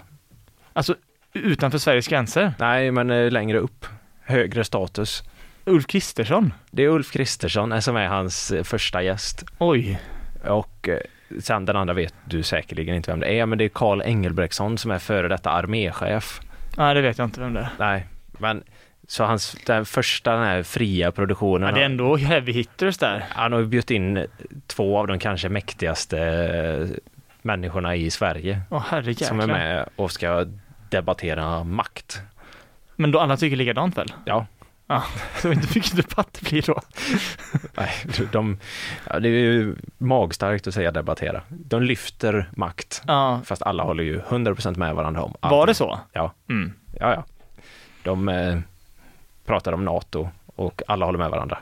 S2: Alltså, utanför Sveriges gränser.
S3: Nej, men eh, längre upp. Högre status.
S2: Ulf Kristersson?
S3: Det är Ulf Kristersson eh, som är hans eh, första gäst.
S2: Oj.
S3: Och eh, sen den andra vet du säkerligen inte vem det är, men det är Karl Engelbrektsson som är före detta arméchef.
S2: Nej, det vet jag inte vem det är.
S3: Nej, men så hans, den första den här fria
S2: Ja,
S3: produktionen,
S2: det är ändå heavy hitters där.
S3: han har ju bjudit in två av de kanske mäktigaste eh, människorna i Sverige
S2: Åh herrejäklar.
S3: som är med och ska debattera makt.
S2: Men då alla tycker likadant väl?
S3: Ja,
S2: Ja, *laughs* så inte mycket debatt det blir då.
S3: nej, *laughs* de, ja, det är ju magstarkt att säga debattera. De lyfter makt,
S2: Ja,
S3: fast alla håller ju 100% med varandra om
S2: var det
S3: allting.
S2: så?
S3: Ja,
S2: Mm.
S3: ja, ja. De eh, pratar om NATO och alla håller
S2: *laughs*
S3: med varandra.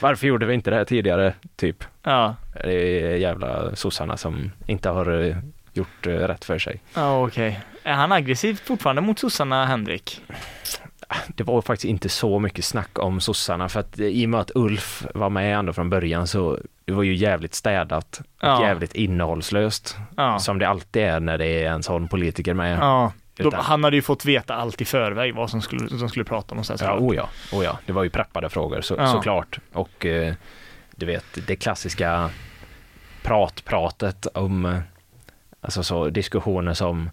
S3: Varför gjorde vi inte det här tidigare, typ?
S2: Ja,
S3: Det är jävla sossarna som inte har eh, gjort eh, rätt för sig.
S2: ja okej. Är han aggressiv fortfarande mot sossarna, Henrik?
S3: Det var faktiskt inte så mycket snack om sossarna för att eh, i och med att Ulf var med ändå från början så det var ju jävligt städat och
S2: Ja.
S3: jävligt innehållslöst
S2: Ja.
S3: som det alltid är när det är en sån politiker med.
S2: Ja. Då,
S3: Utan-
S2: han hade ju fått veta allt i förväg vad som skulle, som skulle prata om och så här,
S3: Ja,
S2: såklart.
S3: oh ja, oh ja. Det var ju preppade frågor så,
S2: Ja.
S3: såklart. Och eh, du vet, det klassiska pratpratet om, eh, alltså så diskussioner som,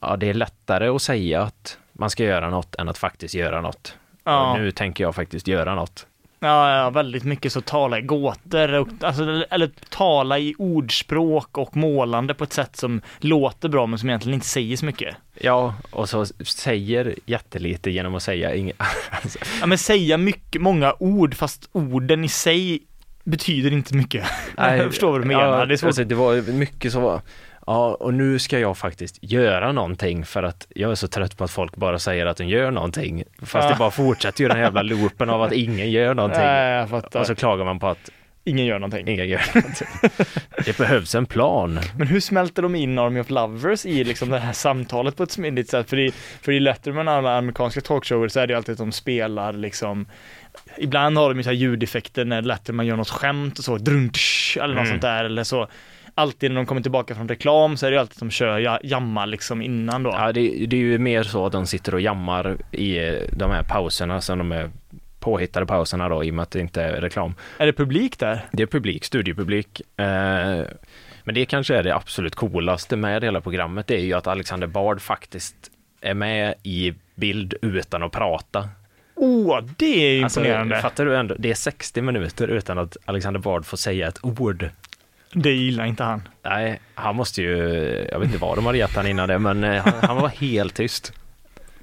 S3: ja det är lättare att säga att man ska göra något än att faktiskt göra något.
S2: Ja.
S3: Och nu tänker jag faktiskt göra något.
S2: Ja, ja, väldigt mycket så tala i gåtor, och, alltså, eller, eller tala i ordspråk och målande på ett sätt som låter bra men som egentligen inte säger så mycket.
S3: Ja, och så säger jättelite genom att
S2: *laughs*
S3: säga inget. Alltså,
S2: Ja men säga mycket, många ord fast orden i sig betyder inte mycket. jag *laughs* förstår vad du menar,
S3: Ja,
S2: det är svårt.
S3: Alltså, det var mycket så, ja, och nu ska jag faktiskt göra någonting för att jag är så trött på att folk bara säger att de gör någonting. Fast
S2: Ja.
S3: det bara fortsätter ju den jävla loopen av att ingen gör någonting.
S2: Nej, jag fattar.
S3: Och så klagar man på att
S2: Alltså, Ingen gör någonting. *laughs*
S3: ingen gör någonting. Det behövs en plan.
S2: Men hur smälter de in Army of Lovers i liksom det här samtalet på ett smidigt sätt? För i, för i Letterman och alla amerikanska talkshower så är det ju alltid att de spelar liksom Ibland har de ju så här ljudeffekter när Letterman gör något skämt och så, druntsch, eller något sånt där eller så Alltid när de kommer tillbaka från reklam så är det ju alltid att de kör ja, jamma liksom innan då.
S3: Ja, det, det är ju mer så att de sitter och jammar i de här pauserna som de är påhittade pauserna då i och med att det inte är reklam.
S2: Är det publik där?
S3: Det är publik, studiepublik. Eh, men det kanske är det absolut coolaste med hela programmet, det är ju att Alexander Bard faktiskt är med i bild utan att prata.
S2: Åh, det är
S3: Alltså,
S2: imponerande!
S3: fattar du ändå? Det är 60 minuter utan att Alexander Bard får säga ett ord.
S2: det gillar inte han.
S3: Nej, han måste ju, jag vet inte vad de hade gett han innan det, men eh, han, han var helt tyst.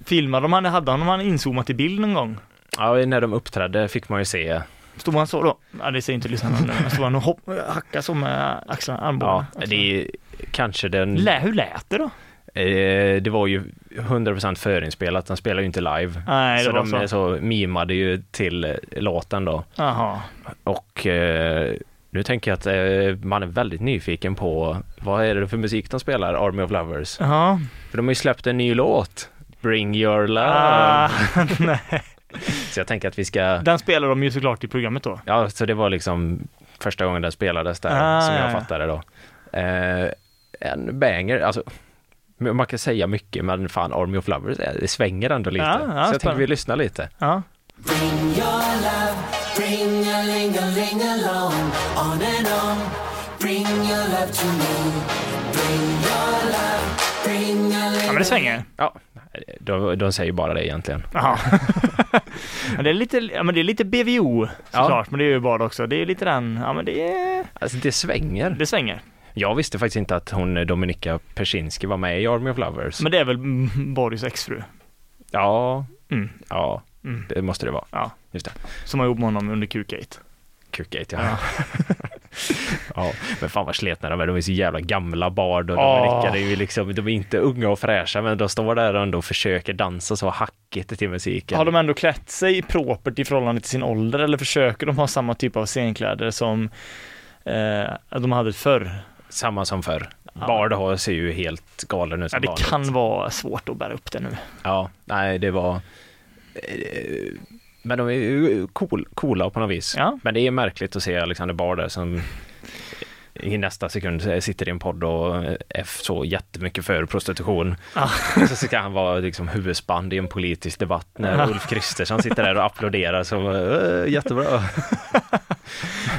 S2: Filmade de han, hade han, om han inzoomat i bild någon gång?
S3: Ja, när de uppträdde fick man ju se.
S2: Stod han så då? Ja, det säger inte lyssnarna nu, men stod han och hopp, hackade så med axlarna,
S3: Ja,
S2: armbågarna?
S3: det är kanske den...
S2: Lä, hur lät det då?
S3: Eh, det var ju 100% förinspelat, den spelar ju inte live.
S2: Nej, det
S3: så
S2: var
S3: de
S2: så.
S3: eh, så mimade ju till eh, låten då.
S2: Jaha.
S3: Och eh, nu tänker jag att eh, man är väldigt nyfiken på vad är det för musik de spelar, Army of Lovers?
S2: Ja.
S3: För de har ju släppt en ny låt, Bring Your Love.
S2: Ah, *laughs* nej.
S3: Så jag tänker att vi ska,
S2: Den spelar de ju såklart i programmet då.
S3: ja så det var liksom första gången den spelades där,
S2: Ah,
S3: som
S2: ja.
S3: jag fattade då. Eh, en banger, alltså man kan säga mycket men fan Army of Lovers, eh, det svänger ändå lite.
S2: Ja, Ah, ja,
S3: så jag tänkte
S2: spännande.
S3: vi lyssnar lite.
S2: Ja.
S6: Bring your love, bring a ling a ling along, on and on. Bring your love to me, bring your love, bring a
S2: ja, men det svänger.
S3: Ja, de, de säger bara det egentligen.
S2: Jaha. *laughs* men det är lite, ja men det är lite BVO såklart, men det är ju bara också. Det är lite den, ja men det, är-
S3: Alltså det svänger.
S2: det svänger.
S3: Jag visste faktiskt inte att hon eh, Dominika Persinski var med i Army of Lovers.
S2: Men det är väl mm, Boris exfru
S3: Ja,
S2: Mm.
S3: ja,
S2: Mm.
S3: det måste det vara.
S2: Ja.
S3: Just det.
S2: som har ihop med honom under Q-gate.
S3: Q-Gate, ja. *laughs* ja. Men fan vad sletna de är, de är så jävla gamla Bard och
S2: Åh.
S3: Dominika, det är ju liksom, de är inte unga och fräscha men de står där och ändå försöker dansa så hackigt till musiken.
S2: Har de ändå klätt sig propert i förhållande till sin ålder eller försöker de ha samma typ av scenkläder som eh, de hade förr?
S3: Samma som förr. Bard har ser ju helt galen ut
S2: Ja,
S3: som
S2: det
S3: vanligt.
S2: kan vara svårt att bära upp det nu.
S3: Ja, nej det var... eh, Men de är ju cool, coola på något vis.
S2: Ja.
S3: Men det är märkligt att se Alexander Bard där som i nästa sekund sitter i en podd och är så jättemycket för prostitution.
S2: Ja.
S3: Så ska han vara liksom husband i en politisk debatt när Ulf Kristersson sitter där och applåderar som "Eh, jättebra.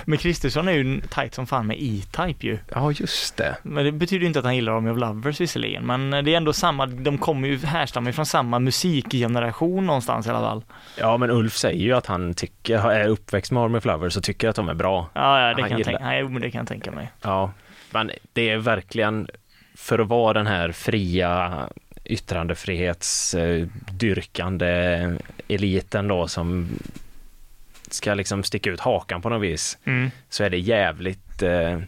S2: Men Kristersson är ju tight som fan med E-Type ju.
S3: Ja, just det.
S2: Men det betyder ju inte att han gillar Army of Lovers visserligen, men det är ändå samma, de kommer ju, härstammar ju från samma musikgeneration någonstans i alla fall.
S3: Ja, men Ulf säger ju att han tycker, är uppväxt med Army of Lovers och tycker att de är bra.
S2: Ja, ja, det, kan
S3: Han
S2: jag,
S3: gillar-
S2: tänka, nej, men det kan jag tänka mig.
S3: Ja, men det är verkligen för att vara den här fria yttrandefrihetsdyrkande eliten då som ska liksom sticka ut hakan på något vis
S2: Mm.
S3: så är det jävligt eh,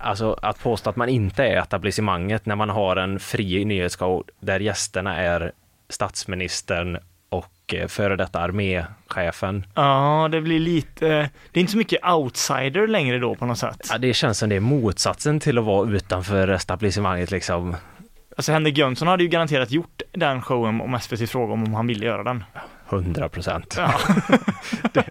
S3: Alltså att påstå att man inte är etablissemanget när man har en fri nyhetsshow där gästerna är statsministern och eh, före detta arméchefen.
S2: Ja, det blir lite, det är inte så mycket outsider längre då på något sätt.
S3: Ja, det känns som det är motsatsen till att vara utanför etablissemanget liksom.
S2: Alltså Henrik Jönsson hade ju garanterat gjort den showen om SVT frågade om, om han ville göra den.
S3: 100 procent.
S2: Ja.
S3: *laughs*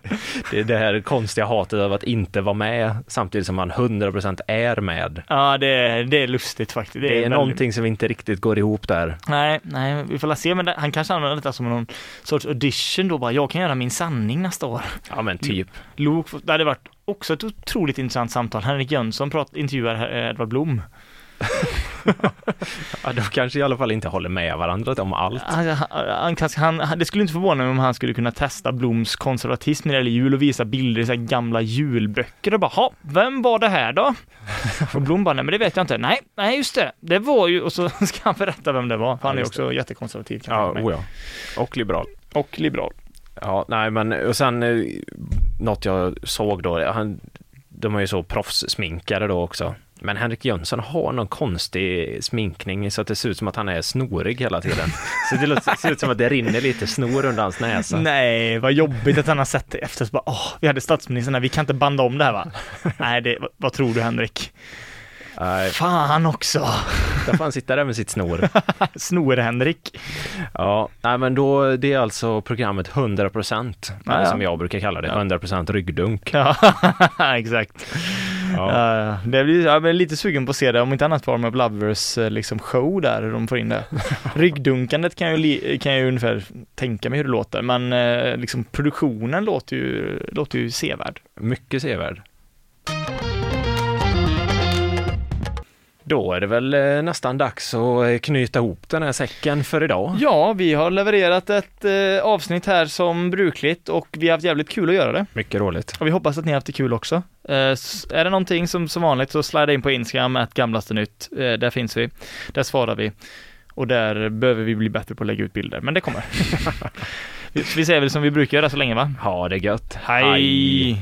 S3: Det, det här konstiga hatet av att inte vara med samtidigt som man 100 procent är med.
S2: Ja, det, är- det är lustigt faktiskt. Det,
S3: Det är,
S2: väldigt-
S3: någonting som inte riktigt går ihop där.
S2: Nej, nej, vi får la se, men det, han kanske använder detta som någon sorts audition då bara, jag kan göra min sanning nästa år.
S3: Ja men typ.
S2: Lok, det hade varit också ett otroligt intressant samtal. Henrik Jönsson prat, intervjuar eh, Edvard Blom.
S3: Ja, de kanske i alla fall inte håller med varandra om allt.
S2: Han, han, han- han, det skulle inte förvåna mig om han skulle kunna testa Bloms konservatism när det gäller jul och visa bilder i så här gamla julböcker och bara, "Ha, vem var det här
S3: *laughs*
S2: då? Och Blom bara, nej men det vet jag inte. Nej, nej just det, det var ju, och så *laughs* ska han berätta vem det var. För han är
S3: Ja,
S2: ju
S3: just
S2: också jättekonservativ. kan jag
S3: Ja,
S2: tänka mig.
S3: oja. Och liberal.
S2: och liberal.
S3: Ja, nej men och sen eh, något jag såg då, han, de är ju så proffssminkare då också. Men Henrik Jönsson har någon konstig sminkning så att det ser ut som att han är snorig
S2: *laughs*
S3: hela tiden. Så det låter- ser ut som att det rinner lite snor under hans näsa.
S2: Nej, vad jobbigt att han har sett det efter. Så bara, åh, vi hade statsministern här, vi kan inte banda om det här
S3: *laughs*
S2: va? Nej, det, vad- vad tror du Henrik?
S3: Nej,
S2: Fan
S3: *laughs*
S2: också!
S3: där får han sitta där med sitt snor.
S2: Snor-Henrik.
S3: Ja, nej men då, det är alltså programmet 100%
S2: Ja, ja.
S3: som jag brukar kalla det, 100% ryggdunk.
S2: *laughs* Ja, exakt.
S3: Ja.
S2: Ja. det blir, jag blir lite sugen på att se det, om inte annat på Arm of Lovers eh, liksom show där, hur de får in det. Ryggdunkandet kan jag, ju li- kan jag ju ungefär tänka mig hur det låter, men eh, liksom produktionen låter ju, låter ju sevärd.
S3: Mycket sevärd. Då är det väl eh, nästan dags att eh, knyta ihop den här säcken för idag.
S2: Ja, vi har levererat ett eh, avsnitt här som brukligt och vi har haft jävligt kul att göra det.
S3: Mycket roligt.
S2: Och vi hoppas att ni har haft det kul också. Eh, s- är det någonting som som vanligt så slida in på Instagram, att gamlaste nytt. Eh, där finns vi. Där svarar vi. Och där behöver vi bli bättre på att lägga ut bilder, men det kommer. vi, vi säger väl som vi brukar göra så länge va?
S3: Ha det gött.
S2: Hej.